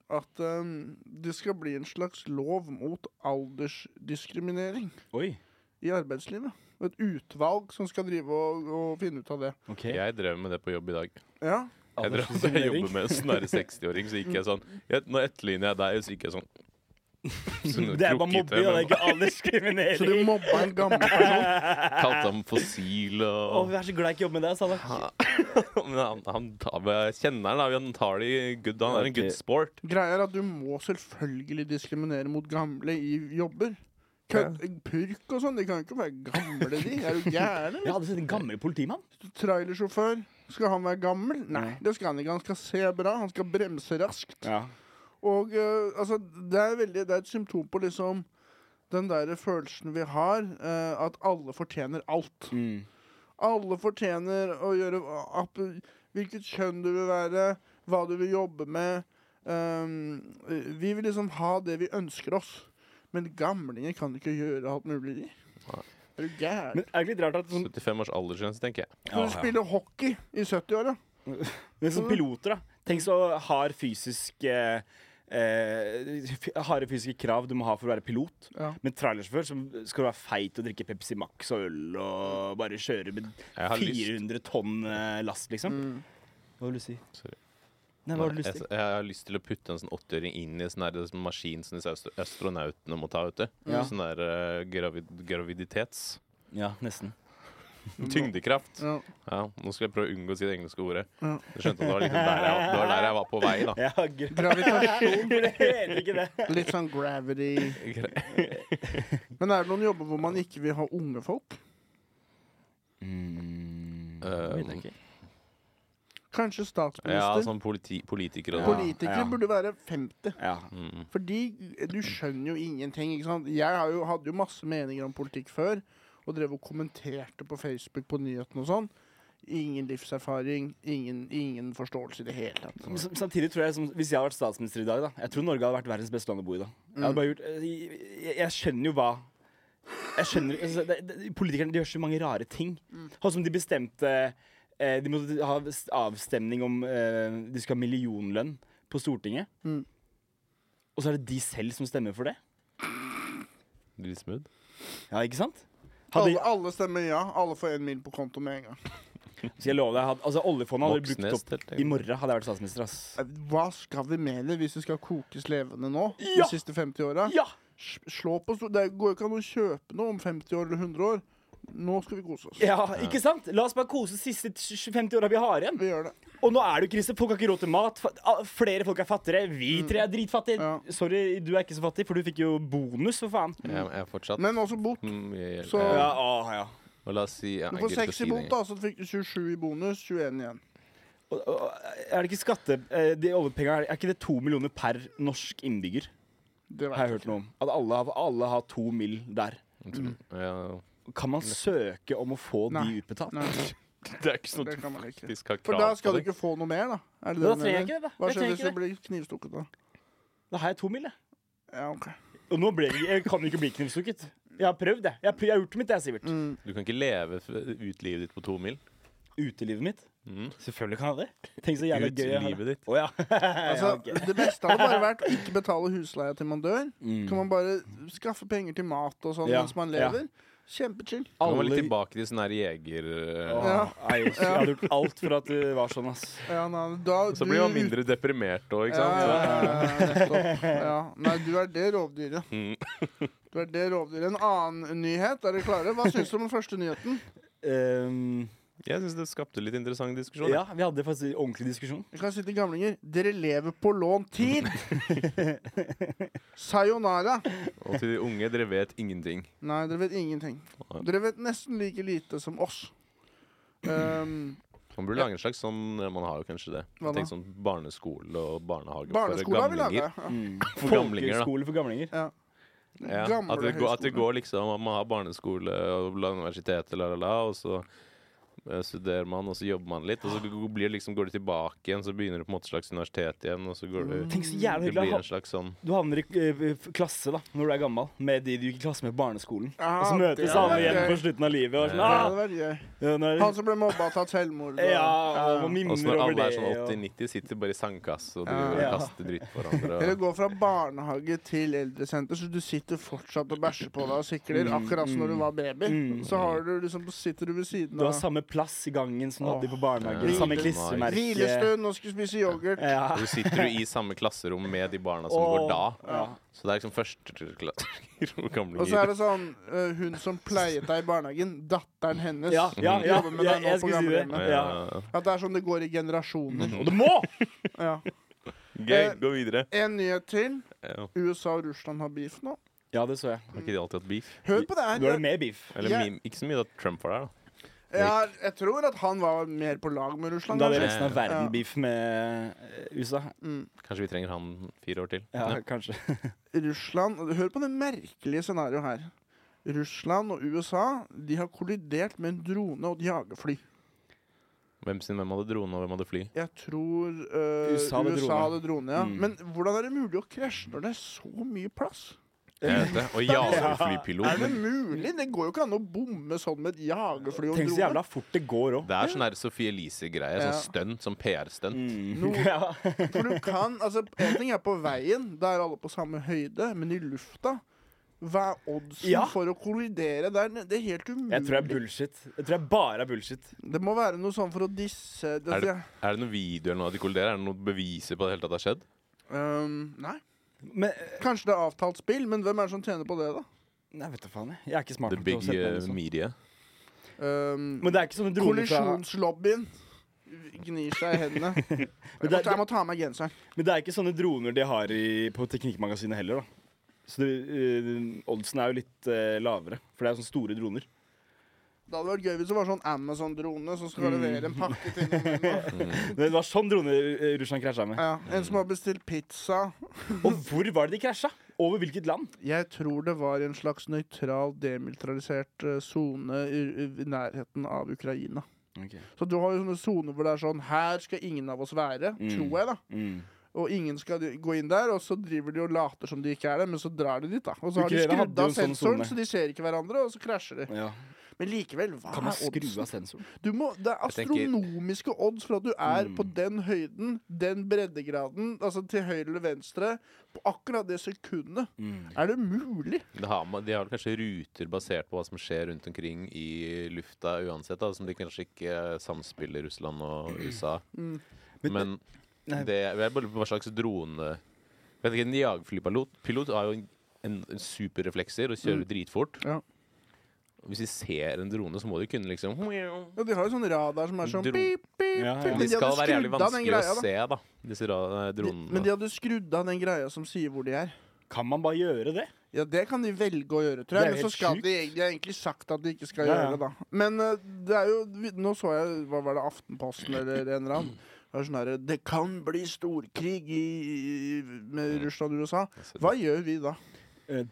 at eh, det skal bli en slags lov mot aldersdiskriminering
Oi.
i arbeidslivet. Og Et utvalg som skal drive og, og finne ut av det.
OK.
Jeg drev med det på jobb i dag.
Ja,
Jeg, drev, da jeg jobber med en sånn her 60-åring, så gikk jeg sånn jeg, Nå etterligner jeg deg, og så gikk jeg sånn. Sånn
Det er bare
krokete,
mobbing, og det er
men
Så du
ikke alderskriminering.
mobba en gammel person?
Kalte ham fossil
Å,
og
jeg er så glad jeg ikke jobber med deg, Salak.
Men han, han tar, jeg kjenner han, da. Han tar det i good, han er en good sport.
Greia er at du må selvfølgelig diskriminere mot gamle i jobber. Kødd, purk og sånn. De kan jo ikke være gamle, de. Er du gæren?
Jeg hadde sett en gammel politimann.
trailersjåfør. Skal han være gammel? Nei,
Nei.
det skal han ikke. Han skal se bra, han skal bremse raskt.
Ja.
Og eh, altså, det er, veldig, det er et symptom på liksom den der følelsen vi har, eh, at alle fortjener alt.
Mm.
Alle fortjener å gjøre hva- at, hvilket kjønn du vil være, hva du vil jobbe med. Ehm, vi vil liksom ha det vi ønsker oss. Men gamlinger kan ikke gjøre alt mulig. de.
Nei.
Er du gæren?
Men er det ikke litt rart at sånn,
75 års aldersgrense, tenker jeg.
Når du spiller hockey i 70-åra
men sånn piloter, da Tenk så hard fysisk eh, eh, f- harde fysiske krav du må ha for å være pilot.
Ja.
Men trailersjåfør så skal du være feit og drikke Pepsi Max og øl og bare kjøre med
Jeg har lyst.
400 tonn eh, last, liksom.
Mm.
Hva vil du si?
Sorry.
Nei, hva har du lyst til?
Jeg, jeg har lyst til å putte en sånn 80-åring inn i en sånn der maskin som disse astro- astronautene må ta, vet du.
Ja.
Sånn der eh, gravid, graviditets...
Ja, nesten.
Mm. Tyngdekraft.
Ja.
Ja, nå skal jeg prøve å unngå å si det engelske ordet.
Ja.
Jeg skjønte at det var, liksom der jeg, det var der jeg var på vei, da.
Ja, gr-
Gravitasjon.
det heter ikke det.
Litt sånn gravity. Men er det noen jobber hvor man ikke vil ha unge folk?
Mm,
Eh,
vet jeg ikke.
Kanskje
Ja,
statsminister?
sånn politi politikere og
Politi-
Politikere
Ja.
burde være 50.
Ja.
Mm.
Fordi du skjønner jo ingenting. ikke sant? Jeg har jo, hadde jo masse meninger om politikk før, og drev og kommenterte på Facebook på nyhetene og sånn. Ingen livserfaring, ingen, ingen forståelse i det hele tatt.
Men sam- Samtidig tror jeg, som, Hvis jeg hadde vært statsminister i dag, da Jeg tror Norge hadde vært verdens beste land å bo i. da Jeg, hadde bare gjort, jeg, jeg, jeg skjønner jo hva Jeg skjønner altså, det, det, Politikerne de gjør så mange rare ting. Sånn som de bestemte eh, De måtte ha s- avstemning om eh, de skulle ha millionlønn på Stortinget.
Mm.
Og så er det de selv som stemmer for det.
Litt smooth.
Ja, ikke sant? Hadde,
Alle, alle stemmer ja. Alle får én mil på konto med en gang.
skal jeg love deg, hadde, altså Oljefondet hadde brukt
Voksnes,
opp
helt
i morgen. Hadde jeg vært statsminister, ass.
Hva skal vi med det hvis det skal kokes levende nå?
Ja!
De siste 50 åra?
Ja!
Slå på stor- Det går jo ikke an å kjøpe noe om 50 år eller 100 år. Nå skal vi kose oss.
Ja, ikke sant? La oss bare kose de siste 50 åra vi har igjen.
Vi gjør det.
Og nå er det jo krise. Folk har ikke råd til mat. Fa- a- Flere folk er fattigere. Vi tre er dritfattige.
Mm. Ja.
Sorry, du er ikke så fattig, for du fikk jo bonus, for faen.
Jeg, jeg er fortsatt Mm,
Men også bot.
mye
Så-
Ja,
ja.
ah,
å, ja.
Og la oss si ja,
Du
jeg
får
gidder ikke
6
å
i
si
bot,
det.
da, så fikk du 27 i bonus. 21 igjen.
Og, og, er det ikke skatte... eh, De oljepengene, er- er ikke det to millioner per norsk innbygger?
Det vet
Har jeg hørt noe om. At alle, har- alle har to mill. der.
Mm, Ja.
Kan man søke om å få
Nei.
de utbetalt?
Nei,
Det er ikke sånn
det
at du
kan man ikke.
faktisk har
For da
krav
skal du
det.
ikke få noe mer, da? Er det du
Da trenger jeg
mener?
ikke det, da.
Hva
Jeg
skjer
trenger
hvis
ikke
du blir knivstukket, da?
Da har jeg to mill., jeg.
Ja, ok.
Og nå ble, jeg jeg kan jo ikke bli knivstukket. Jeg har prøvd, jeg. Jeg har, prøvd, jeg har gjort mitt, jeg, Sivert.
Du kan ikke leve f- ut livet ditt på to mil.
Utelivet mitt.
Mm.
Selvfølgelig kan jeg det. Tenk så jævla
Ut
gøy jeg har det.
livet ditt.
Å ja.
Altså,
ja ok.
Det beste hadde bare vært å ikke betale husleia til man dør.
Mm.
Kan man bare skaffe penger til mat og sånn
Ja,
mens man
ja.
lever? Kjempechill.
Nå må vi litt
Alle-
tilbake til sånn her jeger... eh,
Åh,
Ja.
nei, Jeg hadde gjort alt for at du var sånn, ass.
Ja, nei, da,
Så blir man mindre deprimert òg, ikke sant?
Mm. Ja,
Så-
ja, ja, ja, nettopp. ja. Nei, du er det rovdyret.
Mm.
Du er det rovdyret. En annen nyhet, er dere klare? Hva syns du om den første nyheten?
Ehm,
Jeg syns det skapte litt interessant diskusjon.
ja, vi hadde faktisk en ordentlig diskusjon.
Vi kan si til gamlinger dere lever på lånt tid! Sayonara.
Og til de unge, dere vet ingenting.
Nei, dere vet ingenting.
Nei.
Dere vet nesten like lite som oss. Ehm,
Man burde lage en slags sånn Man har jo kanskje det.
Hva da?
Tenk sånn barneskole og barnehage
barneskole har vi laga. Ja.
Mm. For gamlinger, da.
Mm. Folkehøyskole for gamlinger.
Ja.
Gamle
At, det går, at det
høyskole.
går liksom at Man har barneskole og la universitetet, la, la, la, og så eh, studerer man, og så jobber man litt, og så g- blir liksom, går du tilbake igjen, så begynner du på en måte et slags universitet igjen, og så går
Mm.
du
Tenk så jævla
Det
hyggelig.
blir en
Ha-
slags sånn
Du havner i eh, f- klasse da, når du er gammel, med de du gikk i klasse med på barneskolen.
Ja,
Og så
det
møtes alle
hadde
igjen
vært
på slutten av livet. Og
gøy. Det hadde
sånn, ah,
vært gøy.
ja, nå
Han
er det-
som ble mobba og tatt selvmord. og-
ja, og
Ja.
Og så
mimrer
når
over
alle er
det.
sånn
og-
80-90, sitter bare i sandkasse og
Ja.
driver og
Ja.
kaster dritt på hverandre.
Eller
og-
gå fra barnehage til eldresenter, så du sitter fortsatt og bæsjer på deg og sikler,
Mm.
akkurat som når du var baby. Så har du liksom, sitter du ved siden
Du har
av
samme plass i gangen som du hadde
Ja.
på barnehagen. Samme klistremerke.
Hvilestund, nå skal vi spise yoghurt.
Ja.
Og du sitter jo i samme klasserom med de barna som
Åh.
går da.
Ja.
Så det er liksom førsteklassinger og gamlinger.
Og så er det sånn eh, Hun som pleiet deg i barnehagen, datteren hennes,
Ja, ja, ja,
jobber med
ja,
deg nå
jeg
på
skulle si det.
gamlehjemmet.
ja.
At det er sånn det går i generasjoner.
Og du må!
Ja. Eh,
Gøy, gå videre.
En nyhet til.
Ja.
USA og Russland har beef nå.
Ja, det så jeg.
Har Eh, ikke de alltid hatt beef?
Hør på det her.
Nå er det mer beef.
Eller
Jeg-
meme. Ikke så mye da Trump var der, da.
Ja, jeg tror at han var mer på lag med Russland.
Da hadde
kanskje.
resten av verden beef med eh, USA.
Kanskje vi trenger han fire år til.
Ja,
Ja.
kanskje.
Russland Hør på det merkelige scenarioet her. Russland og USA de har kollidert med en drone og et jagerfly.
Hvem sin hvem hadde drone, og hvem hadde fly?
Jeg tror øh,
USA hadde drone.
hadde drone ja.
Mm.
Men hvordan er det mulig å krasje når det er så mye plass?
Jeg vet det. Og
Er det
jagerflypilot.
mulig? Det går jo ikke an å bomme sånn med et jagerfly og en
Tenk så
drone.
jævla fort det går òg.
Det er sånn her Sophie
Ja.
Elise-greie.
Mm.
Sånn stunt. Sånn PR-stunt.
No,
Mm. Ja.
for du kan, altså En ting er på veien, da er alle på samme høyde, men i lufta Hva er oddsen
Ja.
for å kollidere der? nede? Det er helt umulig.
Jeg tror det er bullshit. Jeg tror jeg bare er bullshit.
Det må være noe sånn for å disse det,
Er det, er det noen video eller noe av de kolliderer? Er det noen beviser på det hele tatt har skjedd?
Øhm, Nei.
Men
Kanskje det er avtalt spill, men hvem er det som tjener på det, da?
Nei, vet du faen. Jeg Jeg er ikke smart
The
nok til å
Big
sette meg inn i
liksom.
eh,
sånt.
Media.
Øhm,
Men det er ikke som en drone fra
Kollisjonslobbyen gnir seg i hendene. Jeg må,
det-
ta- jeg må ta av meg genseren.
Men det er ikke sånne droner de har i, på Teknikkmagasinet heller, da. Så det, eh, oddsen er jo litt eh, lavere, for det er jo sånne store droner.
Det hadde vært gøy hvis det var sånn Amazon-drone som skal levere en pakke til noen. nå.
Men det var sånn droner eh, Russland krasja med.
Ja, en som har bestilt pizza.
Og hvor var det de krasja? Over hvilket land?
Jeg tror det var i en slags nøytral, demilitarisert eh, sone i, i nærheten av Ukraina. Så du har jo sånne soner hvor det er sånn Her skal ingen av oss være,
Mm.
tror jeg, da.
Mm.
Og ingen skal de- gå inn der, og så driver de og later som de ikke er det, men så drar de dit, da. Og så har de
Ukraina
skrudd
hadde
av
jo en sånn
sensoren,
sone.
så de ser ikke hverandre, og så krasjer de.
Ja.
Men likevel, hva
Kan man
er
skru
oddsen?
av sensoren?
Du må, det er
Jeg tenker-
astronomiske odds for at du er
Mm.
på den høyden, den breddegraden, altså til høyre eller venstre, på akkurat det sekundet.
Mm.
Er det mulig?
Det har, man- de har vel kanskje ruter basert på hva som skjer rundt omkring i lufta uansett, da, som de kanskje ikke eh, samspiller Russland og USA.
Mm.
Men
Nei.
det jeg bare lurer på hva slags drone Vet ikke, En jagerflypilot pilot har jo en, en, en superreflekser og kjører dritfort.
Mm. Ja.
Hvis de ser en drone, så må de kunne liksom
Ja, de har jo sånn radar som er sånn
Dro-
pip, pip,
Ja, ja.
pip.
Men
Men
De
de
skal
hadde
være jævlig
skrudd av den
vanskelig
greia,
å
da.
se, da, disse ra eh,
De, men
dronene.
de hadde skrudd av den greia som sier hvor de er.
Kan man bare gjøre det?
Ja, det kan de velge å gjøre, tror
Det er
jeg.
jo
Men så
helt
skal
sjukt.
de, de har egentlig sagt at de ikke skal
Ja, ja.
gjøre det, da. Men eh, det er jo vi- Nå så jeg Hva var det, Aftenposten eller en eller annen? Det, er sånn her, det kan bli storkrig i, i- med Russland og USA. Hva gjør vi da?
Eh,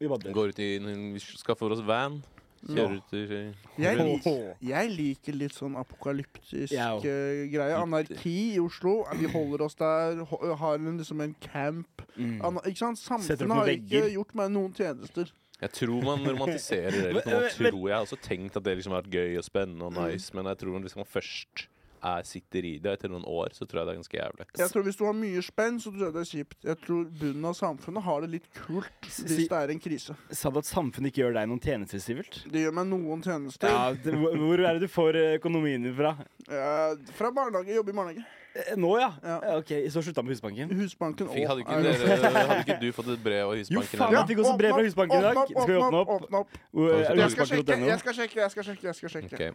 Vi bare
Vi
dør.
går ut i en- Vi skaffer oss van. Kjører ut i
Jeg,
rundt.
lik, jeg liker litt sånn apokalyptisk
Jeg òg.
eh, greie. Anarki
eh.
i Oslo. Vi holder oss der, ho- har en, liksom en camp. Ana, ikke sant?
Mm. Setter
Samfunnet
opp noen
har ikke
vegger.
gjort meg noen tjenester.
Jeg tror man romantiserer det litt. Man
Men- men- Mm.
tror jeg har også tenkt at det liksom har vært gøy og spennende og nice, men jeg tror hvis man liksom først er, sitter i det etter noen år, så tror jeg det er ganske jævlig.
Jeg tror Hvis du har mye spenn, så tror jeg det er kjipt. Jeg tror bunnen av samfunnet har det litt kult
Si-
hvis det er en krise.
Sa du at samfunnet ikke gjør deg noen tjenester, Sivert?
Det gjør meg noen tjenester.
Ja, det, hvor hvor er det du får eh, økonomien din fra?
Eh, fra barnehage, jobbe i barnehage.
Eh, Nå, ja?
Ja.
Eh, Ok, Så slutta med Husbanken?
Husbanken
Fy, hadde, ikke
er-
dere, hadde ikke du fått et brev av
Jo,
Husbanken?
faen,
eller?
jeg fikk også brev fra Husbanken i dag. Skal vi åpne opp?
åpne opp.
Hvor- eh, er det
Jeg skal sjekke,
husbanken.no?
jeg skal sjekke. jeg skal sjekke, jeg skal sjekke.
Ok.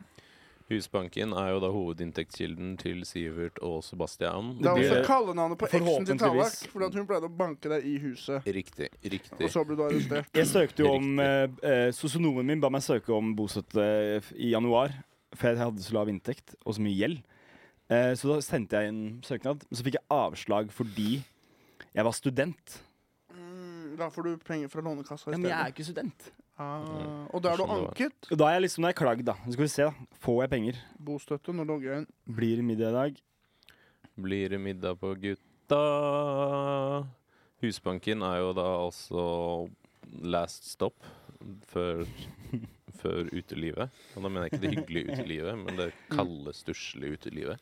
Husbanken er jo da hovedinntektskilden til Sivert og Sebastian.
Det er
blir-
også kallenavnet på eksen til Tallak,
Forhåpentligvis.
fordi at hun pleide å banke deg i huset.
Riktig. Riktig.
Og så ble du arrestert.
Jeg søkte jo om eh, eh, Sosionomen min ba meg søke om bostøtte f- i januar, for jeg hadde så lav inntekt og så mye gjeld. Eh, så da sendte jeg inn søknad, men så fikk jeg avslag fordi jeg var student.
Mm, da får du penger fra Lånekassa i
Ja, men jeg er
stedet.
ikke student.
Ah, og da er du
Sånn det
anket.
Og da er jeg liksom, da er jeg klagd, da. Så skal vi se, da. Får jeg penger?
Bostøtte, nå logger jeg inn.
Blir det middag i dag?
Blir det middag på gutta? Husbanken er jo da altså last stop før, før utelivet. Og da mener jeg ikke det hyggelige utelivet, men det kalde, stusslige utelivet.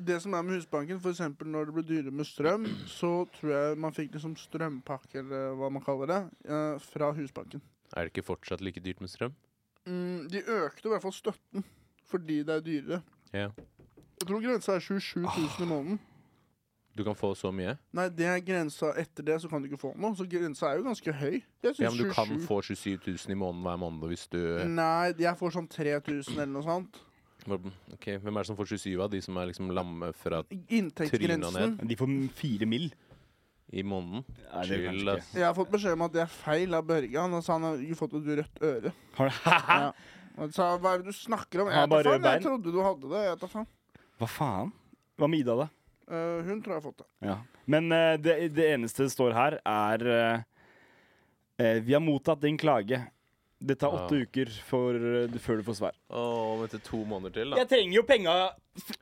Det som er med Husbanken, f.eks. når det blir dyrere med strøm, så tror jeg man fikk liksom strømpakke, eller hva man kaller det, eh, fra Husbanken.
Er det ikke fortsatt like dyrt med strøm?
Mm, de økte i hvert fall støtten, fordi det er dyrere.
Ja.
Jeg tror grensa er 27
Ah.
000 i måneden.
Du kan få så mye.
Nei, det er grensa etter det, så kan du ikke få noe. Så grensa er jo ganske høy. Jeg
Ja,
synes
men du kan
27
få 27 000 i måneden hver måned hvis du
Nei, jeg får sånn 3000 eller noe sånt.
Ok, Hvem er det som får 27 av de som er liksom lamme fra
Inntektsgrensen.
De får fire mill.
i måneden?
Nei, det vil
Chill,
kanskje
ass.
Jeg har fått beskjed om at det er feil av Børge. Han sa han har ikke fått et rødt øre.
ikke. Har du-
Ja. Han sa, hva er det du snakker om?
Har
Jeg,
bare
vet da faen,
røde
jeg trodde du hadde det. Jeg vet da faen.
Hva faen? Hva med Ida, da?
Eh, hun tror jeg har fått det.
Men eh, det, det eneste det står her, er eh, eh, Vi har mottatt din klage. Det tar åtte
Ja.
uker for, eh, du- før du får svar.
Å, vent til to måneder til, da.
Jeg trenger jo penga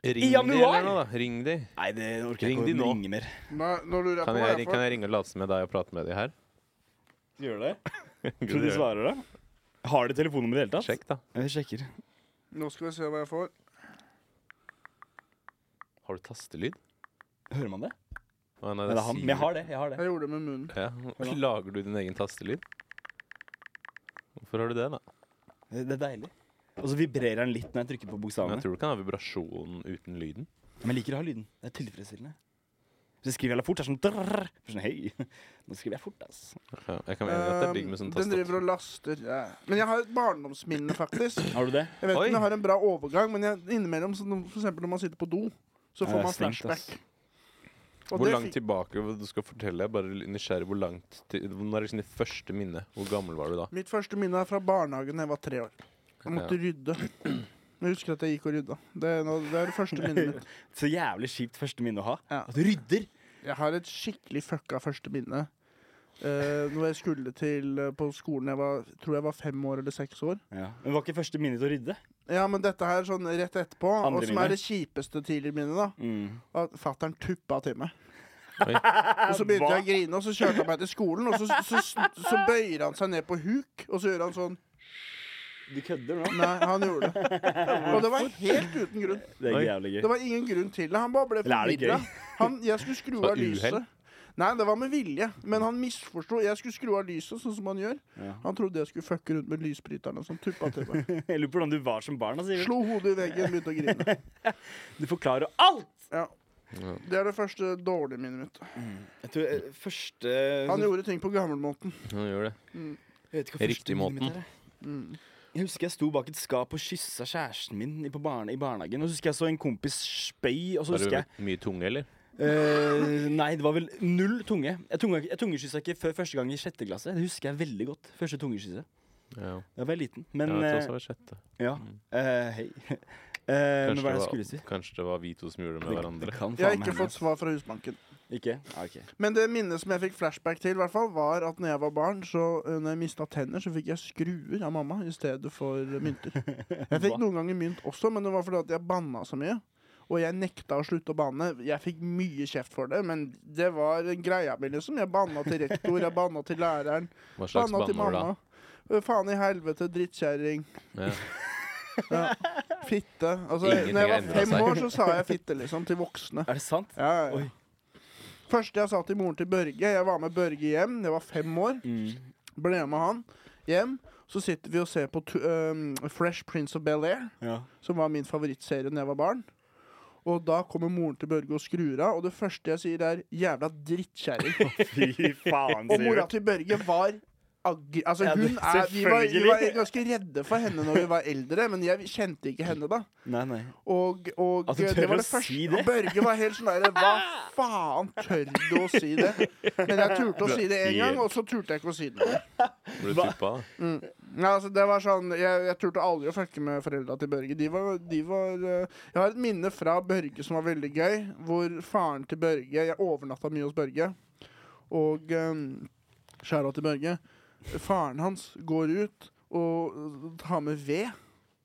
Ring de,
januar!
eller noe, da. Ring de.
Nei, det orker
Ring
jeg
de
ikke å
nå.
ringe mer.
Nei, nå lurer jeg
Kan
på hva
jeg,
jeg
kan
får.
jeg ringe og late som jeg er deg og prate med de her?
Gjør det? Tror du de svarer, da? Har de telefonnummeret i det hele tatt?
Sjekk, da.
Jeg sjekker.
Nå skal vi se hva jeg får.
Har du tastelyd?
Hører man det?
Å, nei,
Nei, det er han.
Siri.
Men jeg har det. jeg har det
Jeg gjorde det med munnen.
Ja. Lager du din egen tastelyd? Hvorfor har du det, da?
Det det er deilig. Og så vibrerer den litt når jeg trykker på
Men
bokstavene.
jeg tror du kan ha vibrasjon uten lyden.
Men jeg liker å ha lyden. Det er tilfredsstillende. Hvis jeg skriver jævla fort, så er det sånn drrrr. Så er det Sånn, hei, nå skriver jeg fort, ass.
Ja, jeg kan mene at det er digg med
Ehm,
Eh, Den
sånn tastatur.
driver og laster. Ja. Men jeg har et barndomsminne, faktisk.
Har du det?
Jeg vet
Oi.
ikke om jeg har en bra overgang, men jeg, innimellom, så når- for eksempel når man sitter på do, så
Ja,
får
det er
man
strengt,
flashback.
ass.
Og
Hvor
det
langt
fikk-
tilbake du skal fortelle? Jeg er bare nysgjerrig hvor langt til, Når er liksom ditt første minne? Hvor gammel var du da?
Mitt første minne er fra barnehagen da jeg var tre år. Jeg måtte rydde. Jeg husker at jeg gikk og rydda. Det er, nå- det er det første minnet mitt.
Så jævlig kjipt første minne å ha.
Ja.
At du rydder.
Jeg har et skikkelig fucka første minne. Uh, når jeg skulle til eh, på skolen jeg var, tror jeg var fem år eller seks år.
Men var ikke første minne til å rydde?
Ja, men dette her sånn rett etterpå,
Andre
og som
minne. Mm.
er det kjipeste tidligere minnet, da. At fattern tuppa til meg.
Oi.
Og så begynte
Hva?
jeg å grine, og så kjørte han meg til skolen. Og så, så, så, så bøyer han seg ned på huk, og så gjør han sånn.
Du kødder nå?
Nei, han gjorde det. Og det var helt uten grunn.
Det er
Oi.
ikke jævlig gøy.
Det var ingen grunn til det. Han bare ble
Eller er det
forvirra.
gøy?
Han- Jeg skulle skru
Var
av
det
lyset.
uhell?
Nei, det var med vilje, men han misforsto. Jeg skulle skru av lyset, sånn som han gjør.
Ja.
Han trodde jeg skulle fucke rundt med lysbryterne, som tuppa til meg.
Jeg lurer på hvordan du var som barn. Altså. Sigurd.
Slo hodet i veggen, begynte å grine.
Du forklarer alt!
Ja. Det er det første dårlige minnet mitt.
Jeg tror eh, første sånn-
Han gjorde ting på gammelmåten.
Ja, gjør det.
Jeg vet ikke hva første
Riktig
minnet mitt
måten.
er, jeg. Mm. Jeg husker jeg sto bak et skap og kyssa kjæresten min i, på barne, i barnehagen. Og så husker jeg så en kompis spøy, og så
Har
husker jeg
du mye tunge, eller?
Eh, nei, det var vel null tunge. Jeg, tunga, jeg tungekyssa ikke før første gang i sjette klasse. Det husker jeg veldig godt. Første tungekysset.
Ja.
Da var jeg liten. Men
jeg vet
eh,
også var sjette.
ja. Eh, hei. Eh, men hva er det jeg
Kanskje,
skulle
det
si?
var, kanskje det var vi to som gjorde det med hverandre.
kan
Jeg har
meg
ikke
hende.
fått svar fra Husbanken.
Ikke? Ah, ok.
Men det minnet som jeg fikk flashback til, i hvert fall, var at når jeg var barn, så eh, når jeg mista tenner, så fikk jeg skruer av mamma i stedet for eh, mynter. Jeg fikk
Hva?
noen ganger mynt også, men det var fordi at jeg banna så mye. Og jeg nekta å slutte å banne. Jeg fikk mye kjeft for det, men det var greia mi, liksom. Jeg banna til rektor, jeg banna til læreren,
Hva slags
banna til
banneord da?
mamma. Eh, Faen i helvete, drittkjerring.
Ja.
Fitte. Altså,
Ingenting
når jeg
har
var
endret
fem
seg.
år, så sa jeg fitte, liksom, til voksne.
Er det sant?
Ja, ja, ja.
Oi.
Første jeg sa til moren til Børge Jeg var med Børge hjem, jeg var fem år.
Mm,
Ble med han hjem. Så sitter vi og ser på tu- øhm, Fresh Prince of Bel-Air,
Ja.
som var min favorittserie da jeg var barn. Og da kommer moren til Børge og skrur av, og det første jeg sier, er 'jævla drittkjerring'.
Fy faen,
og mora
Sivert.
til Børge var agg... Altså,
Ja,
hun
det-
er vi var, vi var
selvfølgelig.
ganske redde for henne når vi var eldre, men jeg kjente ikke henne da.
Nei, nei.
Og, og
At du tør å si det?
og Børge var helt sånn der Hva faen tør du å si det? Men jeg turte å si det én gang, og så turte jeg ikke å si det. mer.
Ble du
Hva?
tuppa?
Ja, altså, det var sånn, jeg, jeg turte aldri å fucke med foreldra til Børge. De var, de var eh, Jeg har et minne fra Børge som var veldig gøy, hvor faren til Børge Jeg overnatta mye hos Børge. Og eh, skjæra til Børge. Faren hans går ut og eh, tar med ved.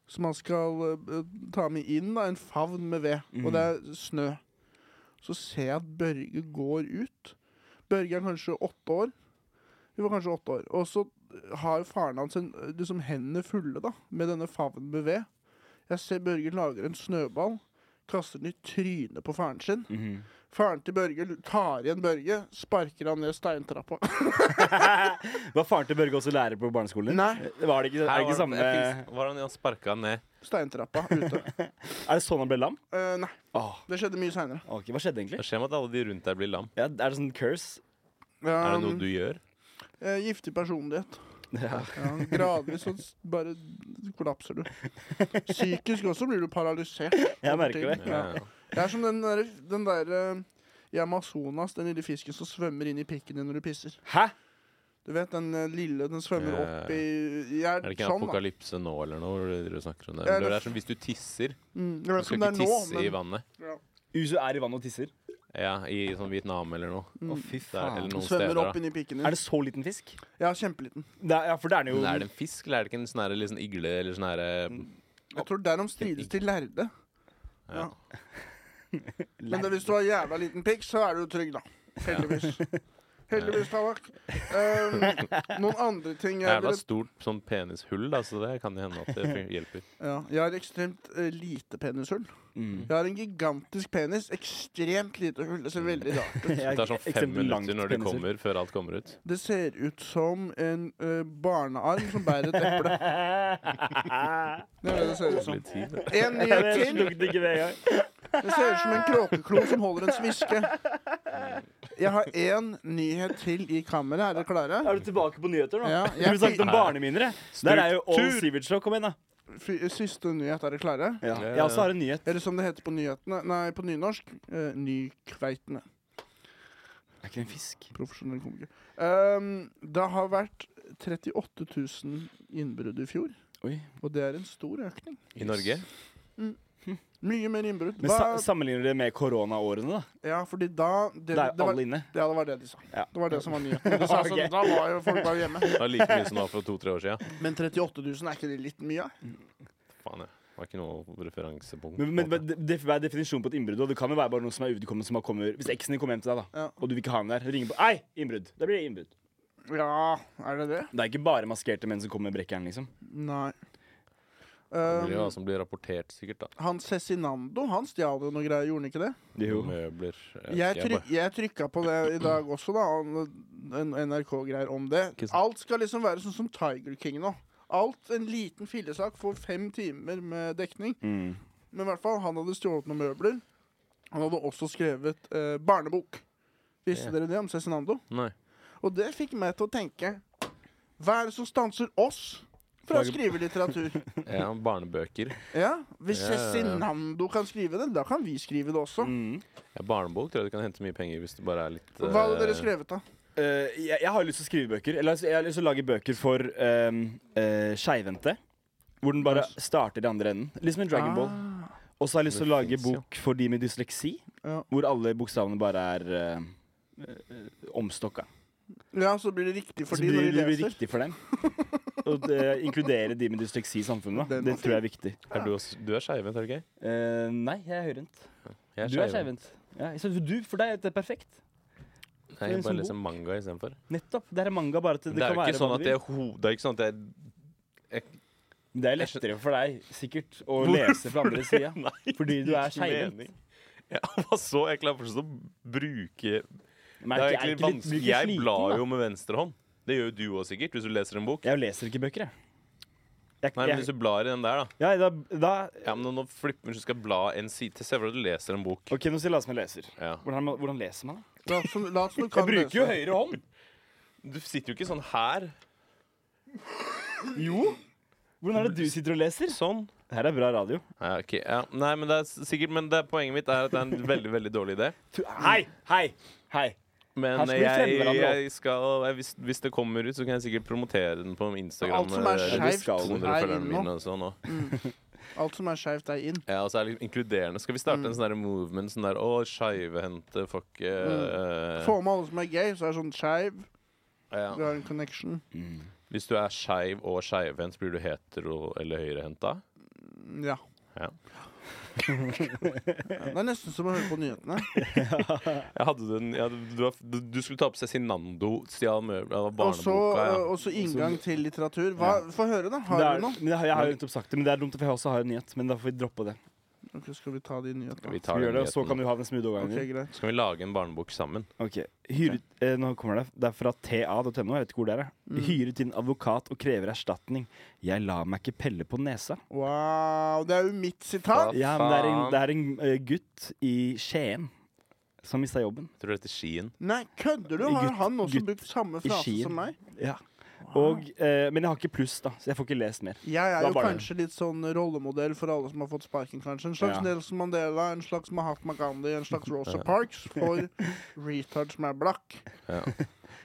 Som han skal eh, ta med inn. da, En favn med ved. Og det er snø. Så ser jeg at Børge går ut. Børge er kanskje åtte år. Vi var kanskje åtte år. Og så har faren hans en, liksom hendene fulle da, med denne favnen med ved. Jeg ser Børge lager en snøball, kaster den i trynet på faren sin.
Mhm.
Faren til Børge tar igjen Børge, sparker han ned steintrappa.
Var faren til Børge også lærer på barneskolen din? Eh,
Nei.
Var det ikke, er det ikke samme
Jeg
Er
fikk- Var det han sparka ned?
Steintrappa ute.
det sånn han ble lam?
Eh, nei,
Åh,
det skjedde mye seinere.
ok, Hva skjedde egentlig?
Det skjer med at alle de rundt deg blir lam.
Ja, er det sånn curse?
Um,
Er det noe du gjør?
eh, giftig personlighet.
Ja.
Ja, gradvis så s- bare kollapser du. Psykisk også blir du paralysert.
Jeg merker det.
Ja. Det er som den derre den der, eh, i Amazonas, den lille fisken som svømmer inn i pikken din når du pisser.
Hæ?
Du vet den eh, lille, den svømmer
Ja, ja, ja.
opp i Jeg
Er
er,
det ikke
sånn, da.
apokalypse nå eller noe? Hvor du snakker om det?
Ja,
Eller
det-
det er som hvis du tisser.
Mm, jeg
Du
vet ikke
skal
om det
ikke
er nå,
tisse i
men
vannet.
Usu er i vannet og tisser.
Ja, I sånn Vietnam eller noe.
Å, fy
Der, eller
faen.
den
noen
svømmer
steder.
opp
Da.
inni pikken
Er
din.
det så liten fisk?
Ja, kjempeliten.
Det er, ja, for det er den jo
Men er det en fisk, eller er det ikke en sånn her- eller sånn igle eller sånn herre
Mm. Jeg tror derom strides de lærde. Ja.
Ja.
Men det, hvis du har jævla liten pikk, så er du trygg, da. Heldigvis. Heldigvis, Tallak. Um, noen andre ting
Det
jeg
er da
vil
et stort sånn penishull, da, så det kan jo hende at det hjelper.
ja, Jeg har ekstremt eh, lite penishull.
Mm.
Jeg har en gigantisk penis. Ekstremt lite hull. Det
Mm.
ser veldig rart ut.
Det tar sånn fem
Ekstremt langt
minutter når det
penishull.
kommer, før alt kommer ut.
Det ser ut som en eh, barnearm som bærer et eple. Det er sånn. det det ser ut som.
Litt tid, da.
En ny
Det
til.
slukte ikke Vegard.
Det ser ut som en kråkeklo som holder en sviske. Jeg har én nyhet til i kammeret. Er dere klare?
Er du tilbake på nyheter nå?
Ja,
Jeg har
jeg,
snakket om barneminner. jeg. Der er jo All
Struktur.
Sivert Show. Kom igjen, da.
fy- siste nyhet. Er dere klare?
Ja.
Ja, ja,
Jeg også har en nyhet.
Eller som det heter på nyhetene Nei, på nynorsk. eh, nykveitene.
Er ikke det en fisk?
Profesjonell komiker. Ehm, det har vært 38 000 innbrudd i fjor,
Oi.
og det er en stor økning.
I Norge.
Mye mer innbrudd.
Men sa
Hva,
sammenligner det med koronaårene, da?
ja, fordi da det,
Da er
det,
jo
var,
alle inne.
ja, det var det de sa.
Ja.
Det var det som var nyheten. De sa sånn,
Ok.
Da var jo folk bare hjemme.
Det var like mye som det var for to-tre år siden.
Men 38 000, er ikke det litt mye?
Faen, jeg. Det var ikke noe referansepunkt.
Men, men, men det det er definisjonen på et innbrudd. Og det kan jo være bare noen som er uvedkommende som har kommer Hvis eksen din kommer hjem til deg, da,
Ja.
og du vil ikke ha henne der, ringer på Ei, innbrudd! Da blir det innbrudd.
Ja, er det det?
Det er ikke bare maskerte menn som kommer med brekkjern, liksom.
Nei.
det altså- blir jo hva
Um,
som blir rapportert, sikkert. da
han Cezinando, han stjal jo noe greier, gjorde han ikke det?
Møbler eh,
Jeg,
skal jeg
tryk, jeg trykka på det i dag også, da. om En NRK-greier om det.
Ikke sant.
Alt skal liksom være sånn som Tiger King nå. Alt, En liten fillesak får fem timer med dekning.
Mm.
Men i hvert fall, han hadde stjålet noen møbler. Han hadde også skrevet eh, barnebok. Visste
Ja.
dere det om Cezinando?
bare- Nei.
Og det fikk meg til å tenke Hva er det som stanser oss fra å
Flagge-
skrive litteratur?
Ja, barnebøker.
Ja, Hvis
Ja, ja, ja.
Cezinando kan skrive det, da kan vi skrive det også.
Mm.
Ja, barnebok tror jeg du kan hente mye penger hvis det bare er litt
Hva hadde
eh,
dere skrevet, da?
Eh, jeg, jeg har jo lyst til å skrive bøker. Eller altså, jeg har lyst til å lage bøker for um, skeivhendte. Hvor den bare starter i andre enden. Liksom en Dragon Ball.
Ah.
Og så har jeg lyst til å
Det
lage
finnes, ja.
bok for de med dysleksi.
Ja.
Hvor alle bokstavene bare er eh, eh, omstokka.
Ja, så blir det riktig for
Så
de når
blir
de
det blir
leser.
riktig for dem. Og det, inkludere de med dysleksi i samfunnet. Da.
Den
Det
var
tror jeg er viktig.
Er du, også, du er skeivendt, er du ikke?
Eh, nei, jeg er høyrehendt.
Jeg
Du er
skeivendt.
skeivhendt. Ja, jeg synes du, for deg er det perfekt.
Nei, jeg bare
Som bok.
leser manga istedenfor.
Nettopp. Det er manga, bare at det,
Det, det er
kan
jo
være
ikke sånn
hva
at
du
det
vil.
er ho- Det er ikke sånn at det er
Det er lettere for deg, sikkert, å lese fra andre sida. Fordi du er skeivhendt.
mening. Ja, hva så? Jeg klarer fortsatt å bruke
Men
Det
er
er
ikke- er
egentlig
ikke litt- blir
vanskelig.
ikke
Jeg
sliten,
blar
da?
jo med venstrehånd. Det gjør jo du òg sikkert, hvis du leser en bok.
Jeg leser ikke bøker, jeg. jeg,
Nei, men hvis
jeg
du blar i den der, da.
ja, da, da
Ja, men nå flipper hvis du skal bla en side til. Se for deg at du leser en bok.
OK, nå sier la oss med leser.
Ja.
Hvordan, hvordan leser man, da?
La oss som, la oss som du kan lese.
høyre hånd.
Du sitter jo ikke sånn her.
Jo. Hvordan er det du sitter og leser?
Sånn.
Det her er bra radio.
Ja, ok. ja. Nei, men det er s- sikkert Men det, poenget mitt er at det er en veldig, veldig dårlig idé.
Hei, hei, hei. Her
Men
skal vi
jeg,
fremme hverandre
jeg skal jeg, hvis, hvis det kommer ut, så kan jeg sikkert promotere den på Instagram.
Alt som er
eh,
skjevt,
200
er
følgerne
innom.
mine og sånn, og-
Alt som er skeivt, er inn.
Ja, og så er det litt inkluderende. Skal vi starte
Mm.
en sånn der movement? Sånn der Å, skeivehendte, fuck
Mm.
eh,
Få med alle som er gay, så er det sånn skeiv. Du
ja.
har en connection.
Hvis du er skeiv og skeivhendt, blir du hetero eller høyrehendt da?
Ja.
Ja.
Det er nesten som å høre på nyhetene.
Jeg hadde den, jeg hadde, du, var- du, du skulle ta på Cezinando, stjal møbler, det var
Og så
barneboka.
eh,
Ja.
og så inngang til litteratur. Hva, Få høre, da. Har
Det er,
du noe?
men jeg, har- jeg har jo nettopp sagt det, men det er dumt, for jeg også har en nyhet. Men da får vi droppe det.
Ok, skal vi ta de nyhetene?
Vi
Skal
tar
vi
den
gjøre det, og så
nyheten.
kan du ha den smoothie overgangen.
Ok,
din.
greit.
Så kan vi lage en barnebok sammen.
Ok. Hyret, eh, nå kommer det. Det er fra ta.no. Jeg vet ikke hvor det er.
Mm.
Hyret inn advokat og krever erstatning. Jeg lar meg ikke pelle på nesa.
Wow, det er jo mitt sitat!
Ja, men det er en,
Faen.
det er en eh, gutt i Skien som mista jobben.
Jeg tror det heter Skien.
Nei, kødder du? Har
Gutt-
han også
gutt
brukt samme
i
frase
Skien.
som meg?
Ja. Og, eh, men jeg har ikke pluss, da, så jeg får ikke lest mer.
Jeg er
Da
jo
var det.
kanskje litt sånn rollemodell for alle som har fått sparken, kanskje. En slags
Ja.
Nelson Mandela, en slags Mahatma Gandhi, en slags Rosa Parks for retards som er blakk.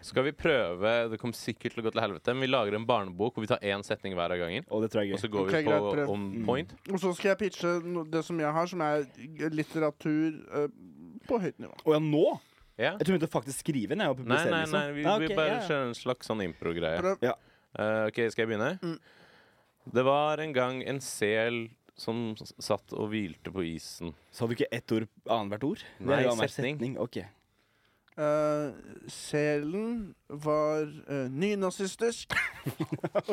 Så skal vi prøve, det kommer sikkert til å gå til helvete, men vi lager en barnebok hvor vi tar én setning hver av gangen.
Og det tror jeg er
Og
gøy.
så går
Ok,
vi på
greit, prøv. Mm.
on point.
Og så skal jeg pitche no- det som jeg har, som er litteratur eh, på høyt nivå.
Å ja, nå?
Ja.
Jeg tror hun faktisk skrive den. jeg, og
Nei, nei,
publisere den, liksom.
nei, vi,
Ah, ok,
vi bare
ja, ja.
kjører en slags sånn impro-greie.
Prøv.
Ja.
Eh, OK, skal jeg begynne?
Mm.
Det var en gang en sel som s- satt og hvilte på isen.
Så har vi ikke ett ord annethvert ord?
Nei,
Det er jo annenhver
setning.
Ok.
Eh, selen var eh, nynazistisk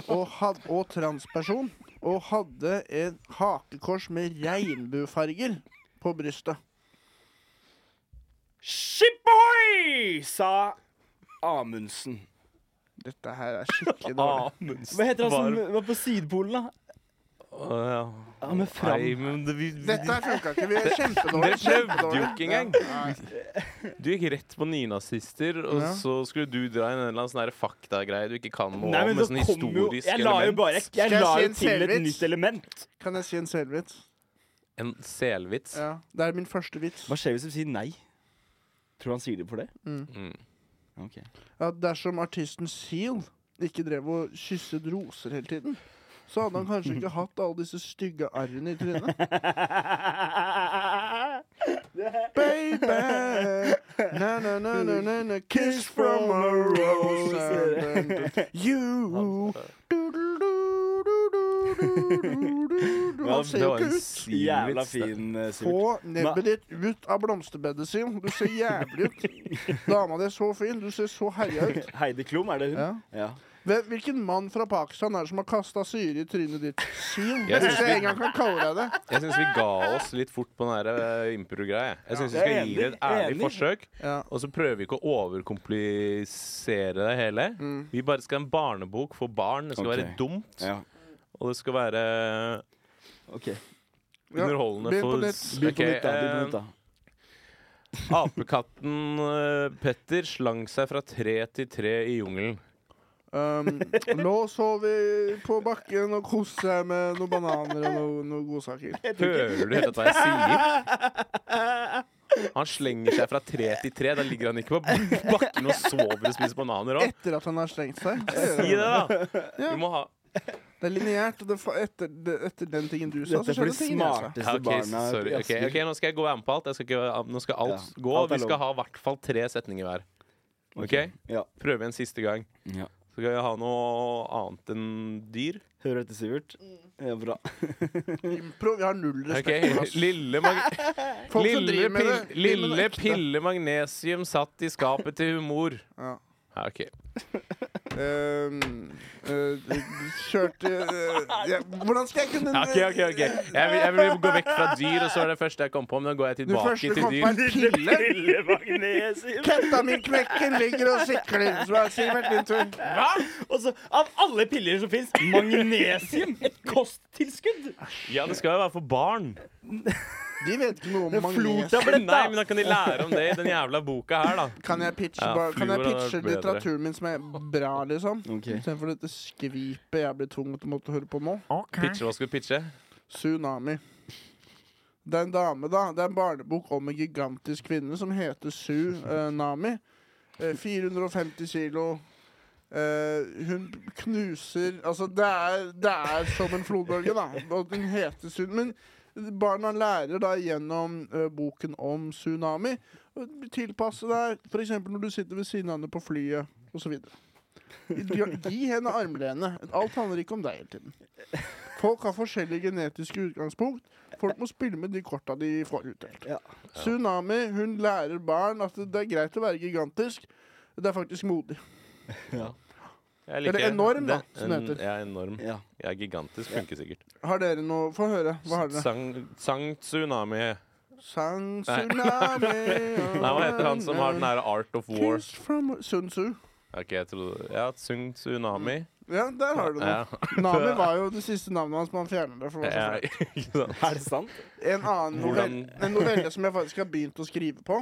og, had, og transperson og hadde et hakekors med regnbuefarger på brystet.
Shipboy! sa Amundsen.
Dette her er skikkelig dårlig.
Hva heter han som var på Sydpolen, da? Ja, men fram.
Nei, men det, vi, vi,
Dette her funka ikke. Vi er
Dere
kjempedårlige.
prøvde jo
kjempedårlige.
ikke engang. Du gikk rett på nynazister, og
Ja.
så skulle du dra inn en eller annen sånn her faktagreie du ikke kan noe
Nei,
om,
men
med
så
sånn
kom jo
historisk
Jeg la jo
element.
bare
jeg
Jeg la
si
jo
en
til et
selvvits?
nytt element.
Kan jeg si en selvvits?
En selvits.
Ja. Det er min første vits.
Hva skjer hvis du sier nei? Tror du han sier det for det?
Mm.
Ok.
At dersom artisten Seal ikke drev og kysset roser hele tiden, så hadde han kanskje ikke hatt alle disse stygge arrene i trynet. Baby, na na na na na na Kiss from a rose and then You Du
Ja,
Han ser
det
jo
var en
ikke ut
selvvits.
Jævla
det.
fin, eh, Sivert.
Få nebbet ditt ut av blomsterbedet, Sim. Du ser jævlig ut. Dama di er så fin. Du ser så herja ut.
Heidi Klum, er det hun?
Ja.
Ja.
Hvem- Hvilken mann fra Pakistan er det som har kasta syre i trynet ditt? Sim.
Jeg
Jeg
synes
syns jeg engang kan kalle deg det.
Jeg syns vi ga oss litt fort på den her, eh, impro-greia. jeg. Jeg syns vi
Jeg er
skal gi det et
enig, jeg er
ærlig
enig.
forsøk,
Ja.
og så prøver vi ikke å overkomplisere det hele.
Mm.
Vi bare skal ha en barnebok for barn. Det skal
Ok.
være dumt,
ja.
og det skal være eh,
OK.
Ja,
underholdende
begynn på
for
nytt.
Begynn på
Ok,
nytt, da. Begynn
eh,
på nytt, da.
Apekatten eh, Petter slang seg fra tre til tre i jungelen.
Um, nå så vi på bakken og koste seg med noen bananer og noen noe godsaker.
Hører du helt hva jeg sier? Han slenger seg fra tre til tre. Da ligger han ikke på bakken og sover og spiser bananer òg.
Etter at han har slengt seg.
Si det, da!
Ja.
Du må ha
Det er lineært. og Det fa etter, det, etter den tingen du sa,
Dette
så
er for
skjedde
de
tingen jeg sa.
Ja,
smarteste
ok,
barna
sorry.
i
Ok,
Asker.
ok, nå skal jeg gå med på alt. Jeg skal ikke, nå skal alt
Ja,
gå.
alt er
vi skal
lov.
ha i hvert fall tre setninger hver. Ok?
Ja.
Prøve igjen siste gang.
ja.
Så skal vi ha noe annet enn dyr.
Hører du etter, Sivert?
Mm.
Ja, bra.
Impro, vi har null
Ok,
respekt for oss.
Lille, mag
Folk som
lille,
driver med det. driver
pil
med
lille
det ekte.
pille magnesium satt i skapet til humor.
Ja.
Ja, ok.
Um, eh, kjørte eh, ja, Hvordan skal jeg kunne
Ja, ok, ok, ok. Jeg, vil, jeg vil gå vekk fra dyr, og så er det første jeg kom på. Men nå går jeg
Du
tilbake
første
til
kom på
dyr.
en pille.
Lille magnesium!
Katta mi knekker, ligger og sikler. Så er Sivert din tur.
Hva? Og så, av alle piller som fins, magnesium! Et kosttilskudd!
Ja, det skal jo være for barn.
De vet ikke noe om
Det er
magnes.
Nei,
flotablett, da!
men da kan de lære om det i den jævla boka her, da.
Kan jeg pitche,
Ja,
bare, kan jeg
fluor hadde vært
pitche
bedre.
litteraturen min som er bra, liksom?
Ok.
Istedenfor dette skvipet jeg blir tvunget til å måtte høre på nå.
Ok.
Pitche, hva skal du pitche?
Tsunami. Det er en dame, da. Det er en barnebok om en gigantisk kvinne som heter Tsunami. Eh, 450 kilo. Eh, hun knuser Altså, det er, det er som en flodbølge, da. Og hun heter Tsunami. Men barna lærer da gjennom eh, boken om tsunami å tilpasse deg f.eks. når du sitter ved siden av henne på flyet osv. Gi henne armlenet. Alt handler ikke om deg hele tiden. Folk har forskjellige genetiske utgangspunkt. Folk må spille med de korta de får utdelt.
Ja.
Tsunami hun lærer barn at det er greit å være gigantisk. Det er faktisk modig.
Jeg
Eller enorm, da, som det
En-
heter.
Ja, enorm.
Ja.
Ja, gigantisk funker sikkert.
Har dere noe Få høre. Hva har dere?
Sang, sang Tsunami.
Sang tsunami
Nei, hva heter han som har den her Art of War?
Kiss from Sun Tzu.
Ok, jeg trodde Ja, Sung Tsunami.
Ja, der har du noe.
Ja.
Nami var jo det siste navnet hans, men han fjerner det. for det var så
Ja,
fælt.
ikke sant?
Er det sant?
En annen
Hvordan-
novelle, en novelle som jeg faktisk har begynt å skrive på.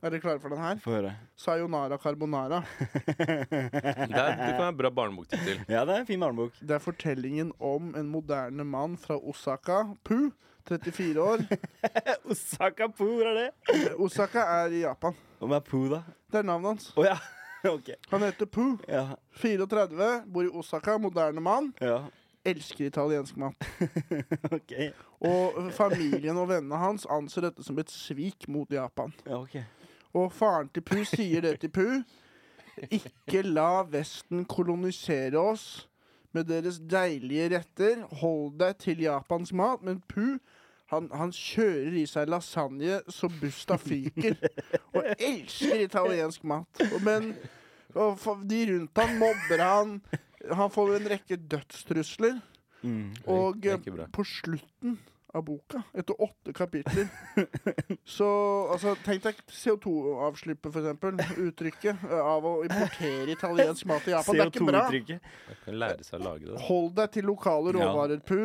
Er dere klare for den her?
Få høre.
Sayonara carbonara.
Det, er, det kan være en bra barneboktittel.
Ja, det er en fin barnebok.
Det er fortellingen om en moderne mann fra Osaka, Pu, 34 år.
Osaka Poo, hvor er det?
Osaka er i Japan.
Hva er Poo, da?
Det er navnet hans.
Å ja. OK.
Han heter Pu,
Ja.
34, bor i Osaka, moderne mann.
ja.
Elsker italiensk mat.
OK. Ja,
Og familien og vennene hans anser dette som et svik mot Japan.
ok.
Og faren til Pu sier det til Pu. Ikke la Vesten kolonisere oss med deres deilige retter. Hold deg til japansk mat. Men Pu Han, han kjører i seg lasagne så busta fyker. Og elsker italiensk mat. Og, men og fa- de rundt han mobber han. Han får en rekke dødstrusler.
Mm.
Og
Det
eh,
er ikke bra.
på slutten av boka, etter åtte kapitler Så altså, tenk deg CO2-avslippet, for eksempel. Uttrykket eh, av å importere italiensk mat i Japan. Det er ikke bra.
CO2-uttrykket.
Man kan lære seg å lage det.
Hold deg til lokale
Ja.
råvarer, Pu.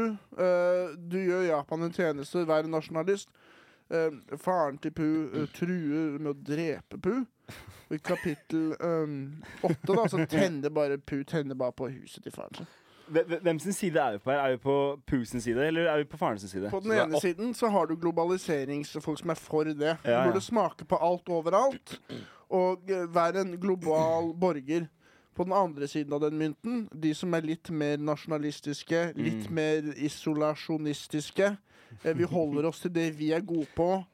Eh, du gjør Japan en tjeneste, vær en nasjonalist. Eh, faren til Pu eh, truer med å drepe Pu. Og I kapittel eh, åtte da, så tenner bare Pu tenner bare på huset til faren sin.
Hve- hve- Hvem sin side er vi på her? Er vi på Pus sin side, eller er vi på faren sin side?
På den
Så det er
ene
åt-
siden så har du globaliseringsfolk som er for det. Du
Ja, ja.
burde smake på alt overalt og eh, være en global borger. På den andre siden av den mynten, de som er litt mer nasjonalistiske, litt
Mm.
mer isolasjonistiske. Eh, vi holder oss til det vi er gode på.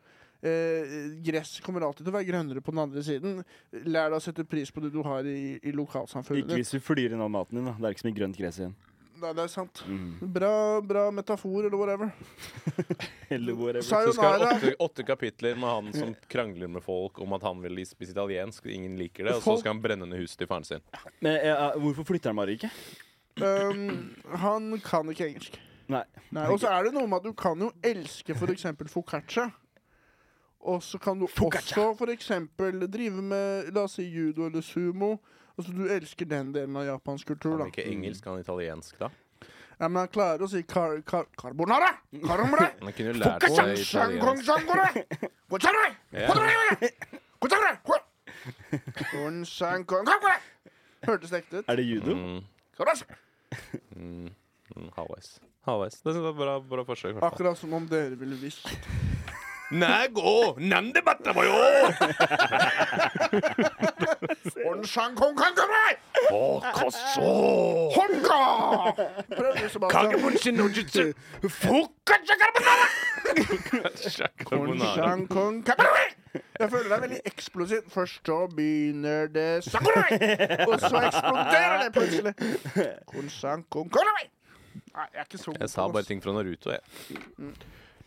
Eh, gress kommer alltid til å være grønnere på den andre siden. Lær deg å sette pris på det du har i, i lokalsamfunnet
Ikke
ditt.
hvis du flyr inn all maten din, da. Det er ikke så mye grønt gress igjen.
Nei, det er sant.
Mm.
Bra, bra metafor, eller whatever.
Eller whatever.
Så skal det
Sayonara.
åtte, åtte kapitler med han som krangler med folk om at han vil spise italiensk, ingen liker det, og så
Folk-
skal han brenne ned huset til faren sin.
Men eh, hvorfor flytter han bare ikke?
Um, han kan ikke engelsk.
Nei.
Nei, Og så er det noe med at du kan jo elske f.eks. foccaccia. Og så kan du
Focaccia.
også for eksempel drive med la oss si judo eller sumo. Altså Du elsker den delen av japansk kultur. da
Han er ikke engelsk, han er italiensk, da.
ja, Men han klarer å si kar kar carbonara! Karomre!
Han kunne jo lært seg italiensk. Ja.
Hørtes det ekte ut?
Er det judo?
Mm, mm, Halvveis. Halvveis. Det synes jeg er bra, bra forsøk. i hvert fall.
Akkurat som om dere ville visst.
Nægå, nandebatta var jo! Å, hva så?
Prøv du, Sebastian. Konshan kong kabaroi! Jeg føler det er veldig eksplosivt. Først så begynner det sakurai, og så eksploderer det plutselig. Konshan kong kabaroi! Nei, jeg er ikke så god
Jeg sa
på
bare ting fra Naruto, jeg.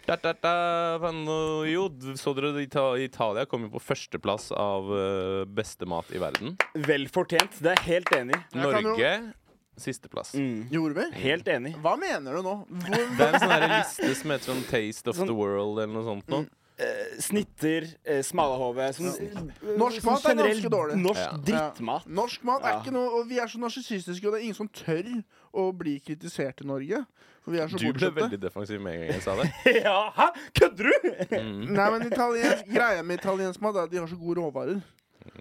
Da, da, da, fan, og jo, så dere at Ita Italia kom jo på førsteplass av eh, beste mat i verden.
Vel fortjent. Det er jeg helt enig i.
Jeg kan jo-
Norge sisteplass.
Mm.
Gjorde vi?
Helt enig.
Hva mener du nå? Hvor,
Det er en sånn her liste som heter sånn Taste of
Sånn-
the World eller noe sånt. Nå.
Eh, snitter, eh, smalahove som- eh,
Norsk
som
mat er
generell
ganske dårlig.
Norsk
Ja.
drittmat.
norsk mat er
Ja.
ikke noe Og vi er så narsissistiske, og det er ingen som tør å bli kritisert i Norge. For vi er så
Du ble
bortskjemte.
veldig defensiv med en gang jeg sa det. Mm.
Ja, hæ? Kødder du?!
Nei, men italiensk, Greia med italiensk mat er at de har så gode råvarer.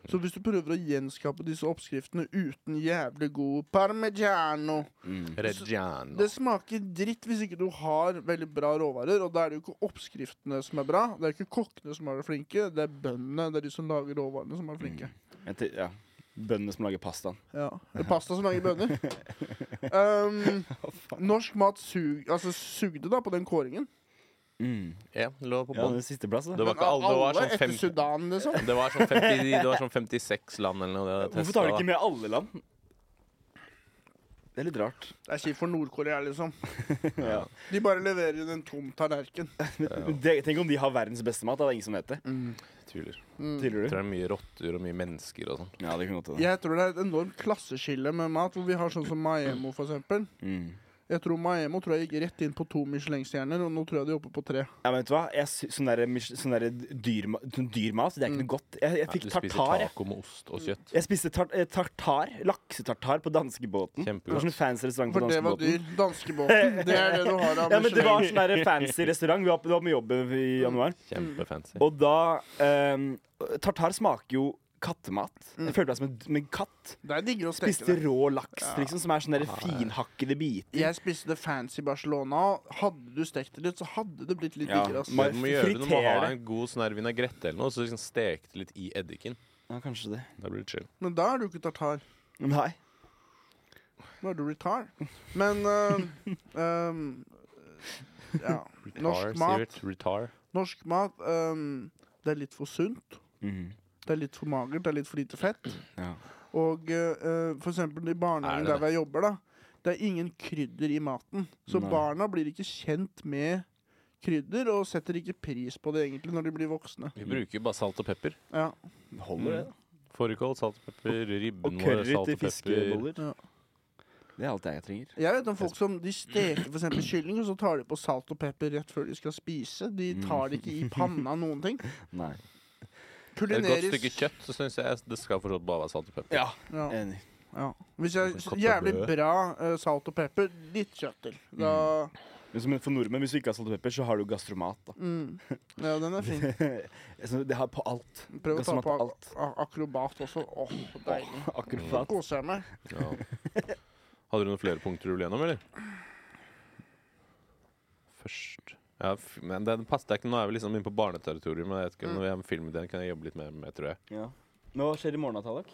Så hvis du prøver å gjenskape disse oppskriftene uten jævlig god parmigiano
Mm.
Reggiano.
Det smaker dritt hvis ikke du har veldig bra råvarer. Og da er det jo ikke oppskriftene som er bra. Det er ikke kokkene som er det flinke. Det er bøndene. Det er de som lager råvarene, som er flinke.
Jeg te- Ja. Bøndene som lager pastaen.
Ja. Det er pasta som lager bønner. Um, norsk mat sug, altså, sugde da på den kåringen.
Ja, lå på
Mm. Ja,
bånn.
det er sisteplass, da.
Det var
Men
ikke alle, det var
alle
sånn
etter
fem...
Sudan, liksom.
Det var sånn 50, det var sånn 56 land eller noe. Det
Hvorfor tar du ikke med alle land? Det er litt rart.
Det er kjipt for Nord-Korea, liksom.
Ja.
De bare leverer inn en tom tallerken.
Men det, tenk om de har verdens beste mat. da. Det er ingen som vet det.
Mm.
Tviler.
Tviler
Jeg
du?
tror det er mye rotter og mye mennesker og sånn.
Mm. Ja, det kunne godt hende.
Jeg tror det er et enormt klasseskille med mat, hvor vi har sånn som Maemo, for eksempel.
Mm.
Jeg tror Maemo tror jeg gikk rett inn på to Michelin-stjerner, og nå tror jeg de er oppe på tre.
Ja, men vet du hva? Jeg sy sånn der, mis- sånn der dyr, ma- sånn dyr mat, det er ikke noe godt. Jeg, jeg fikk
Du spiser
tartar. Jeg,
taco med ost og kjøtt.
jeg spiste tar eh, tartar, laksetartar på danskebåten. Det var
Kjempegodt.
sånn fancy restaurant på
For det var
danskebåten.
dyr. Danskebåten. Det er det du har av
Ja, men det var
Michelin.
sånn der fancy restaurant. Vi var på, det var på jobb i januar.
Kjempefancy.
Mm. Og da ehm, Tartar smaker jo kattemat. Jeg følte meg som en, som en katt.
Det er diggere å steke
Spiste
det.
rå laks, liksom, som er sånne der finhakkede biter.
Jeg spiste det fancy i Barcelona. Hadde du stekt det litt, så hadde det blitt litt
Ja.
diggere. ass.
Ma-
Men du må gjøre det når man
fritere
har
det.
en god sånn her vinaigrette eller noe, så liksom stek det litt i eddiken.
Ja, kanskje det.
Da blir det chill.
Men da er du ikke tartar.
Nei.
Nå er du retard. Men eh, ehm, ja. Norsk mat,
Retar.
norsk mat ehm, det er litt for sunt.
Mhm.
Det er litt for magert, det er litt for lite fett.
Ja.
Og eh, eh, for eksempel i barnehagen
Er det
der jeg jobber, da. Det er ingen krydder i maten. Så
Nei.
barna blir ikke kjent med krydder, og setter ikke pris på det egentlig når de blir voksne.
Vi bruker jo bare salt og pepper.
Ja.
Holder det? da?
Fårikål, salt og pepper, ribben
Og
vår, salt
curry til
og pepper.
fiskeboller.
Ja.
Det er alt jeg trenger.
Jeg vet om folk som de steker for eksempel kylling, og så tar de på salt og pepper rett før de skal spise. De
Mm.
tar det ikke i panna noen ting.
Nei.
Et godt
Kulinerisk.
stykke kjøtt, så syns jeg det skal fortsatt bare være salt og pepper.
Ja,
Ja.
enig.
Ja. Hvis jeg
Kopp og
Jævlig
brød.
bra eh, salt og pepper, litt kjøtt til. Da
Men som for nordmenn, hvis du ikke har salt og pepper, så har du gastromat. da
mm. Ja, den er fin.
Så Det har på alt.
Prøv å ta
Gastromat
på ak-
på alt.
a- akrobat også. Åh, deilig.
Akkurat.
Koser jeg meg.
Ja. Hadde du noen flere punkter du ville gjennom, eller? Først ja, f- men det passet ikke. Nå er vi liksom inne på barneterritorium. Men jeg vet ikke,
Mm.
når vi er med filmideen, kan jeg jobbe litt mer med, tror jeg.
Mm.
Ja. Men hva skjer i morgen, da, Tallak?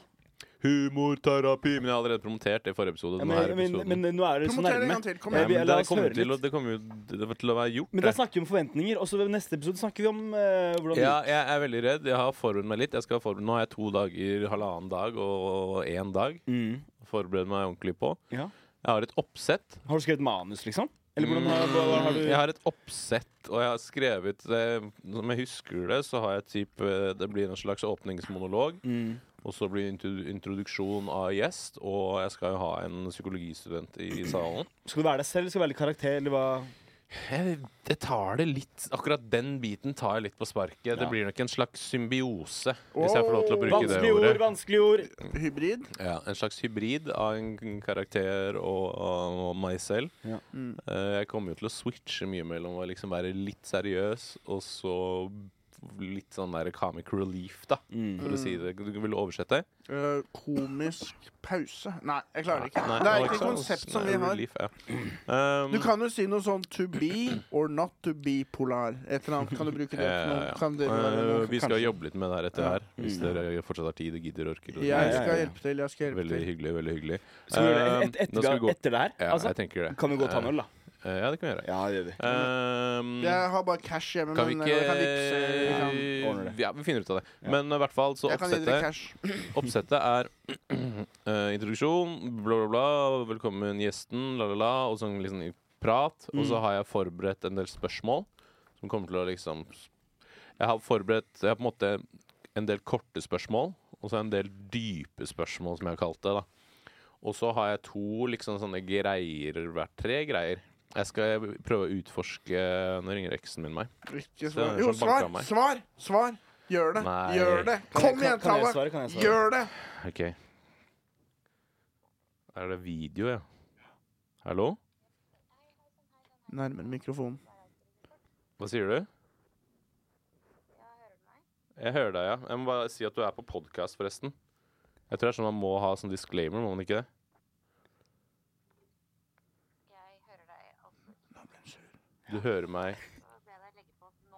Humorterapi! Men jeg har allerede promotert det i forrige episode.
Ja,
Denne her
men, men,
episoden.
men nå er det så
Promoter det en
nærme.
gang til. Kom
Nei,
Ja,
igjen.
vi-
men
la
det
oss
kommer
høre
til, å-
litt.
det kommer jo det kommer til å være gjort.
Men da
det.
snakker vi om forventninger, og så ved neste episode snakker vi om eh, hvordan
Ja,
det
jeg er veldig redd. Jeg har forberedt meg litt. Jeg skal forberede, nå har jeg to dager, halvannen dag og én dag.
gikk. Mm.
Forbereder meg ordentlig på.
Ja.
Jeg har et oppsett.
Har du skrevet manus, liksom? Eller hvordan har,
Mm,
hva, hva har du
Jeg har et oppsett, og jeg har skrevet eh, Som jeg husker det, så har jeg typ eh, Det blir en slags åpningsmonolog,
mm.
og så blir det introdu- introduksjon av gjest, og jeg skal jo ha en psykologistudent i salen.
Skal du være deg selv, eller skal du være litt karakter, eller hva?
Jeg, jeg tar det litt Akkurat den biten tar jeg litt på sparket. Det
Ja.
blir nok en slags symbiose, hvis jeg får lov til å bruke det
Vanskelige ord,
ordet.
vanskelige ord.
Hybrid.
Ja, en slags hybrid av en karakter og, og, og meg selv.
Ja.
Mm.
Eh, jeg kommer jo til å switche mye mellom å liksom være litt seriøs og så litt sånn der comic relief, da.
Mm.
For å si det. Du vil oversette?
Eh, komisk pause. Nei, jeg klarer det ikke.
Nei,
det er
Alexa,
ikke et konsept som
nei,
vi har.
Relief, ja. um,
Du kan jo si noe sånn to be or not to be polar. Et eller annet. Kan du bruke det?
ja,
til
ja,
noe?
ja.
Kan dere være
Eh,
noe?
vi skal
Kanskje.
jobbe litt med det her etter
Ja.
her. Hvis
Mm.
dere fortsatt har tid og gidder og orker. og-
Jeg
Ja, ja,
skal
ja.
hjelpe til. Jeg skal hjelpe
Veldig
til.
hyggelig, veldig hyggelig.
Skal vi gjøre det
Um,
et, et,
nå skal vi gå-
etter det her?
Ja,
altså,
jeg tenker det.
kan vi gå og ta en øl, da?
Eh, ja, det kan vi gjøre.
Ja, det gjør vi.
Um,
Jeg har bare cash hjemme,
Kan vi
men eh,
ikke
jeg kan vippse. Jeg kan,
ordne det.
Ja, vi finner ut av det.
Ja.
Men i hvert fall, så
jeg kan gi dere
oppsettet,
cash.
oppsettet er eh, introduksjon, bla, bla, bla, velkommen gjesten, la, la, la, og sånn liksom i prat. Og
Mm.
så har jeg forberedt en del spørsmål som kommer til å liksom Jeg har forberedt jeg har på en måte en del korte spørsmål, og så en del dype spørsmål, som jeg har kalt det. da Og så har jeg to liksom sånne greier, hvert tre greier. Jeg skal prøve å utforske Nå ringer eksen min meg.
Ikke
Så
svar.
det er
Jo,
sånn
svar!
banka meg.
Svar! Svar! Gjør det!
Nei.
Gjør det!
Kan jeg-
Kom
kan-
igjen,
kan jeg
Tallak!
svare? Kan jeg svare?
Gjør det!
Ok Er det video, ja? Hallo?
Nærmere mikrofonen.
Hva sier du? Jeg hører deg, ja. Jeg må bare si at du er på podkast, forresten. Jeg tror det er sånn man må ha sånn disclaimer, må man ikke det?
Jeg hører deg altså
Du hører meg.
så be deg legge på nå.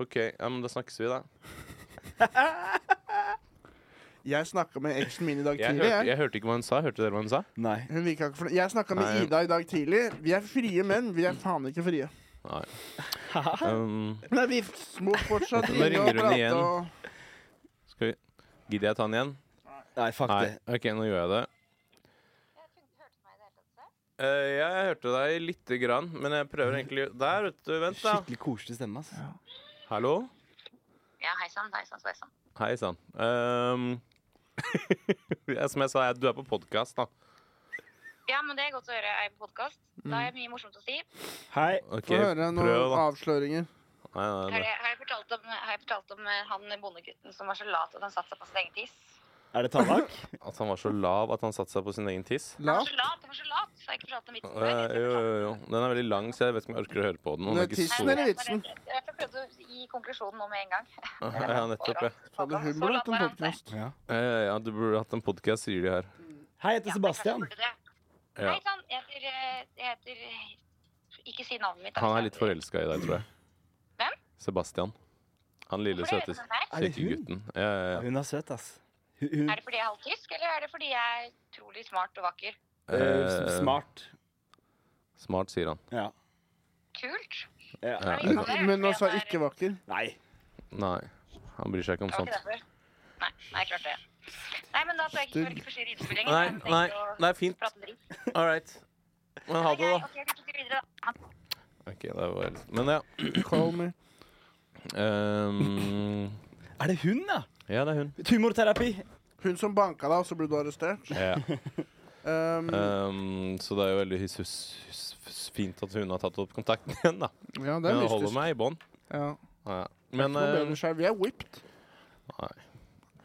OK, ja, men da snakkes vi, da.
Jeg snakka med eksen min i dag
Jeg
tidlig.
hørte,
Jeg.
jeg hørte ikke hva hun sa. Hørte dere hva hun sa?
Nei.
Hun virka ikke fornøyd. Jeg snakka med
Nei.
Ida i dag tidlig. Vi er frie menn. Vi er faen ikke frie.
Nei. Um,
Nei, vi må fortsatt
Nå
ringe
ringer
og
hun
prate
igjen.
og
skal vi Gidder jeg ta den igjen?
Nei, fuck
Nei.
det.
OK, nå gjør jeg det.
Jeg tror ikke du hørte meg i det hele tatt selv.
Eh, jeg hørte deg lite grann, men jeg prøver egentlig Der, vet du. Vent, da.
Skikkelig koselig stemme, ass.
Hallo?
Ja, hei sann, hei sann, sveisann.
Hei sann. Ehm, ja, som jeg sa, jeg- du er på podkast, da.
Ja, men det er godt å høre ei podkast. Da har jeg mye morsomt å si.
Hei.
Ok,
få høre noen
prøv, da.
avsløringer.
Nei, nei,
Har
nei.
jeg, har jeg fortalt om, har jeg fortalt om eh, han bondegutten som var så lat at han satte seg på sin egen tiss?
Er det Tallak?
At han var så lav at han satte seg på sin egen tiss.
Han
La
var så lat, han var så lat! Så har jeg ikke fortalt om vitsen før.
Eh, jo, jo, jo. Den er veldig lang, så jeg vet ikke om jeg orker å høre på den. Den
Det
Sånn er
er
ikke
tissen,
så...
eller?
Jeg
vitsen.
bare- Jeg jeg prøvde å gi konklusjonen nå med en gang.
Ja, nettopp, ja.
Så hadde hun burde hatt en podkast.
Ja.
Eh, ja, du burde hatt en podkast, sier de her.
Hei, jeg heter Sebastian.
Ja.
Hei sann, jeg heter, eh, jeg heter eh, Ikke si navnet mitt.
Han er litt forelska i deg, tror jeg.
Hvem?
Sebastian. Han lille,
Hvorfor er
søte
det den her?
Er det
kjekke gutten. Ja, ja, ja.
Hun er søt, ass. Hun, hun
Er det fordi jeg er halvt tysk, eller er det fordi jeg er utrolig smart og vakker?
eh,
Eh,
smart.
Smart, sier han.
Ja.
Kult.
ja.
Ja, ja.
Men altså ikke vakker.
Nei.
Nei, han bryr seg ikke om
Det var
sånt.
ikke derfor. Nei, nei, klart det. Nei, men da skal jeg ikke for ikke forstyrre innspillingen.
Nei,
Jeg tenkte
nei,
å
nei, fint.
prate dritt.
All right. Men ha
Nei,
det, da.
ok, vi fortsetter videre, da. Ha det.
Ok, det var Men ja.
Call me.
ehm,
Er det hun, ja?
ja, det er hun.
Tumorterapi.
Hun som banka deg, og så ble du arrestert.
Ja.
Um,
Ehm, så det er jo veldig hus, hus, hus, fint at hun har tatt opp kontakten igjen, da.
ja, det er
Hun holder
mystisk.
meg i bånd.
Ja.
Ja.
Nå
Men
ble
ehm,
du skjær. Vi er whipped.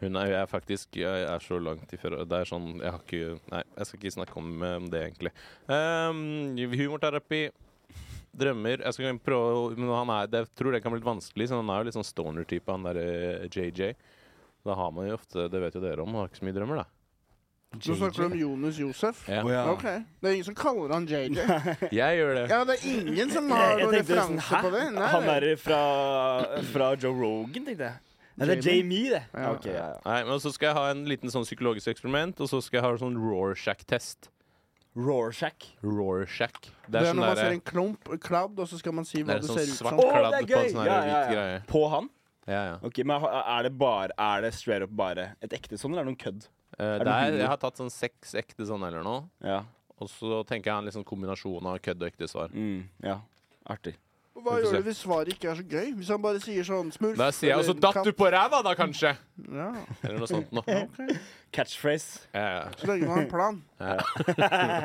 Hun er, jeg er faktisk Jeg er så langt ifra Det er sånn Jeg har ikke Nei, jeg skal ikke snakke om eh, det, egentlig. Ehm, humorterapi. Drømmer Jeg skal prøve å- Men han er, det, jeg tror det kan bli litt vanskelig, så han er jo litt sånn stoner-type, han derre JJ. Da har man jo ofte Det vet jo dere om, man har ikke så mye drømmer, da.
Nå snakker du om Jonas Josef.
Ja.
Å, ja.
Ok, Det er ingen som kaller han JJ.
Jeg gjør det.
Ja, det er ingen som har
Jeg, jeg
noen
tenkte sånn,
referanse på det. Nei,
Han
nei.
er fra, fra Joe Rogan, tenkte jeg. Nei, det er
Jamie.
Jamie, det.
Ja.
Ok, ja, ja.
Nei, men Så skal jeg ha en liten sånn psykologisk eksperiment, og så skal jeg ha sånn Rorschach-test.
Rorschach.
Rorschach.
Det er når man
derre-
ser en klump, kladd, og så skal man si
sånn eh, det
hva det
er sånn
ser ut som.
svart
Å,
kladd på
det er
en
gøy!
sånn her
Ja,
hvit
ja, ja.
greie.
På han?
Ja, ja.
Ok, men Er det bare Er det straight up bare et ekte sånn, eller er det noen kødd?
Eh,
det
det er,
humor?
jeg har tatt sånn seks ekte sånn eller noe.
Ja.
Og så tenker jeg en liksom kombinasjon av kødd og ekte svar.
Mm, ja. Artig.
Og Hva
Vi får
gjør
se.
du hvis svaret ikke er så gøy? Hvis han bare sier sånn smurf
Da sier jeg
eller
også 'datt du
katt».
på ræva', da, kanskje.
Ja,
Eller noe sånt noe. Ja,
ok.
Catchphrase.
ja.
Så lenge man har en plan.
Ja.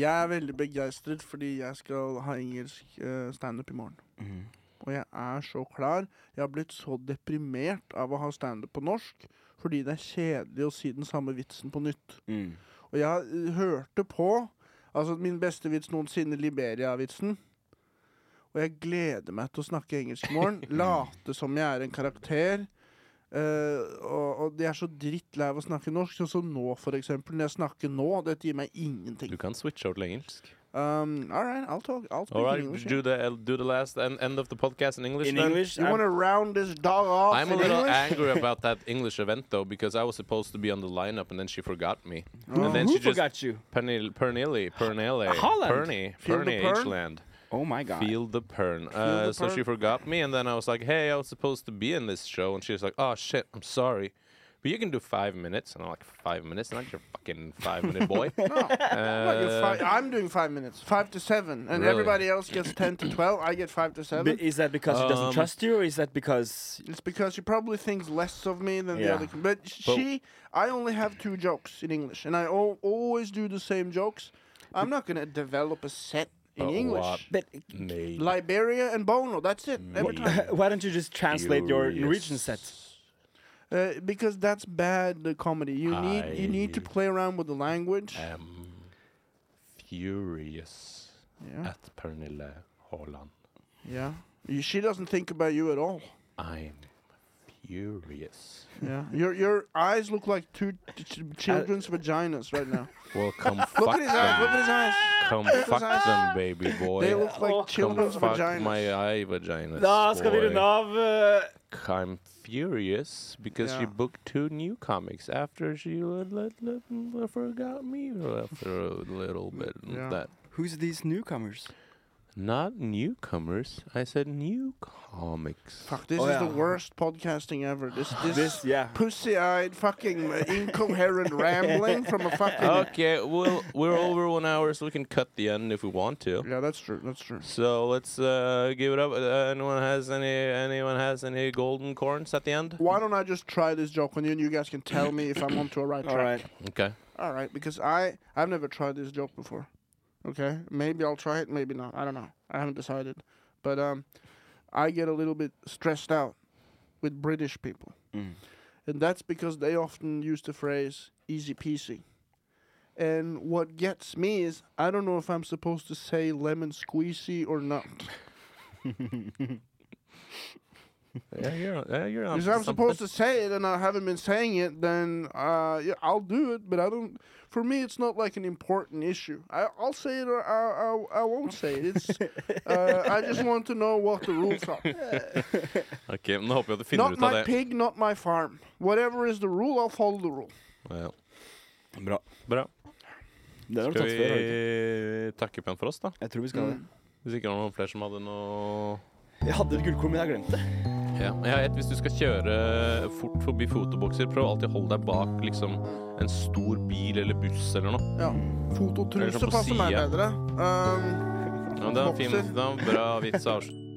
Jeg er veldig begeistret fordi jeg skal ha engelsk eh, standup i morgen. Og jeg er så klar. Jeg har blitt så deprimert av å ha standup på norsk fordi det er kjedelig å si den samme vitsen på nytt.
Mm.
Og jeg eh, hørte på Altså min beste vits noensinne, Liberia-vitsen. Og jeg gleder meg til å snakke engelsk i morgen. Late som jeg er en karakter. Eh, og, og de er så drittlei av å snakke norsk. Sånn som nå, for eksempel. Når jeg snakker nå, dette gir meg ingenting.
Du kan switche over til engelsk.
Um, all right, I'll talk. I'll speak
All
in English.
right,
yeah.
do the, do the last and end of the podcast in English.
In
then.
English
You
er-
wanna round this dog off
I'm a
in
little
English?
angry about that English event though, because I was supposed to be on the lineup and then she forgot me.
Oh.
And then
Who
she just
forgot you?
Pernil, Pernilli, Pernille,
Holland.
Perny,
Feel the
Perny,
pern?
H-land.
Oh my god.
Feel the pern.
the
Uh, so
pern.
she forgot me, and then I was like, "Hey, I was supposed to be in this show," and she was like, "Oh shit, I'm sorry, but you can do five minutes." And I'm like, five minutes? Not your fucking five minute boy."
Well, you're
uh,
fi- I'm doing five minutes, five to seven, and
Really?
everybody else gets ten to twelve. I get five to seven.
But is that because she doesn't
Um,
trust you, or is that because
It's because she probably thinks less of me than the
Yeah.
other. com- But sh-
But-
she, I only have two jokes in English, and I al- always do the same jokes. I'm not gonna develop a set in
But
English.
what-
But
me.
Liberia and Bono, that's it. Every
Me.
time.
why don't you just translate your
Furious.
Norwegian set?
Uh, because that's bad uh, comedy. You need you need to
I- Uh,
play around with the language.
I'm furious
Yeah,
at Pernille Haaland.
yeah. You- She doesn't think about you at all.
I'm furious.
Yeah, your your eyes look like two t- t- children's
Uh,
vaginas right now.
Well, come
Look
fuck
at his eyes. Look at
them.
his eyes.
Come
his
fuck
eyes.
them, baby boy.
They look like
Come
children's
fuck
vaginas.
my eye vaginas.
Da skal vi
boy.
runde av. eh,
I'm furious because she
Yeah.
booked two new comics after she let, let, let, let- forgot me after a little bit. of
Yeah.
That
Who's these newcomers?
not newcomers. I said new comics.
Fuck, this
Oh,
is
yeah.
the worst podcasting ever. This this,
This, yeah.
pussy-eyed fucking uh, incoherent rambling from a fucking
Okay, well we're over one hour, so we can cut the end if we want to.
Yeah, that's true. That's true.
So let's uh, give it up. Uh, anyone has any? Anyone has any golden corns at the end?
Why don't I just try this joke on you and you guys can tell me if I'm onto a right track?
All right.
Okay.
All right, because I I've never tried this joke before. Okay, maybe I'll try it, maybe not. I don't know. I haven't decided. But um, I get a little bit stressed out with British people,
Mm.
and that's because they often use the phrase "easy peasy." And what gets me is I don't know if I'm supposed to say lemon squeezy or not.
Yeah, you're yeah, you're on.
Because I'm supposed to say it and I haven't been saying it, then uh, yeah, I'll do it. But I don't. For me, it's not like an important issue. I, I'll say it or I, I, I won't say it. It's. uh, I just want to know what the rules are.
Okay, men nå håper jeg at du finner
not
ut av
my
det.
pig, not my farm. Whatever is the rule, I'll follow the rule.
Ja.
Bra.
Bra.
Det har du
Skal
tatt før. har du ikke?
vi takke pen for oss, da?
Jeg tror vi skal det.
Hvis ikke det var noen flere som hadde noe
Jeg hadde et gullkorn, men jeg har glemt det.
Ja, men jeg vet, Hvis du skal kjøre fort forbi fotobokser, prøv alltid å holde deg bak liksom, en stor bil eller buss eller noe.
Ja.
Eller
Fototruse
sånn på
passer meg
siden.
bedre. Um,
Ja, det er en fin, det er en bra vits å avslutte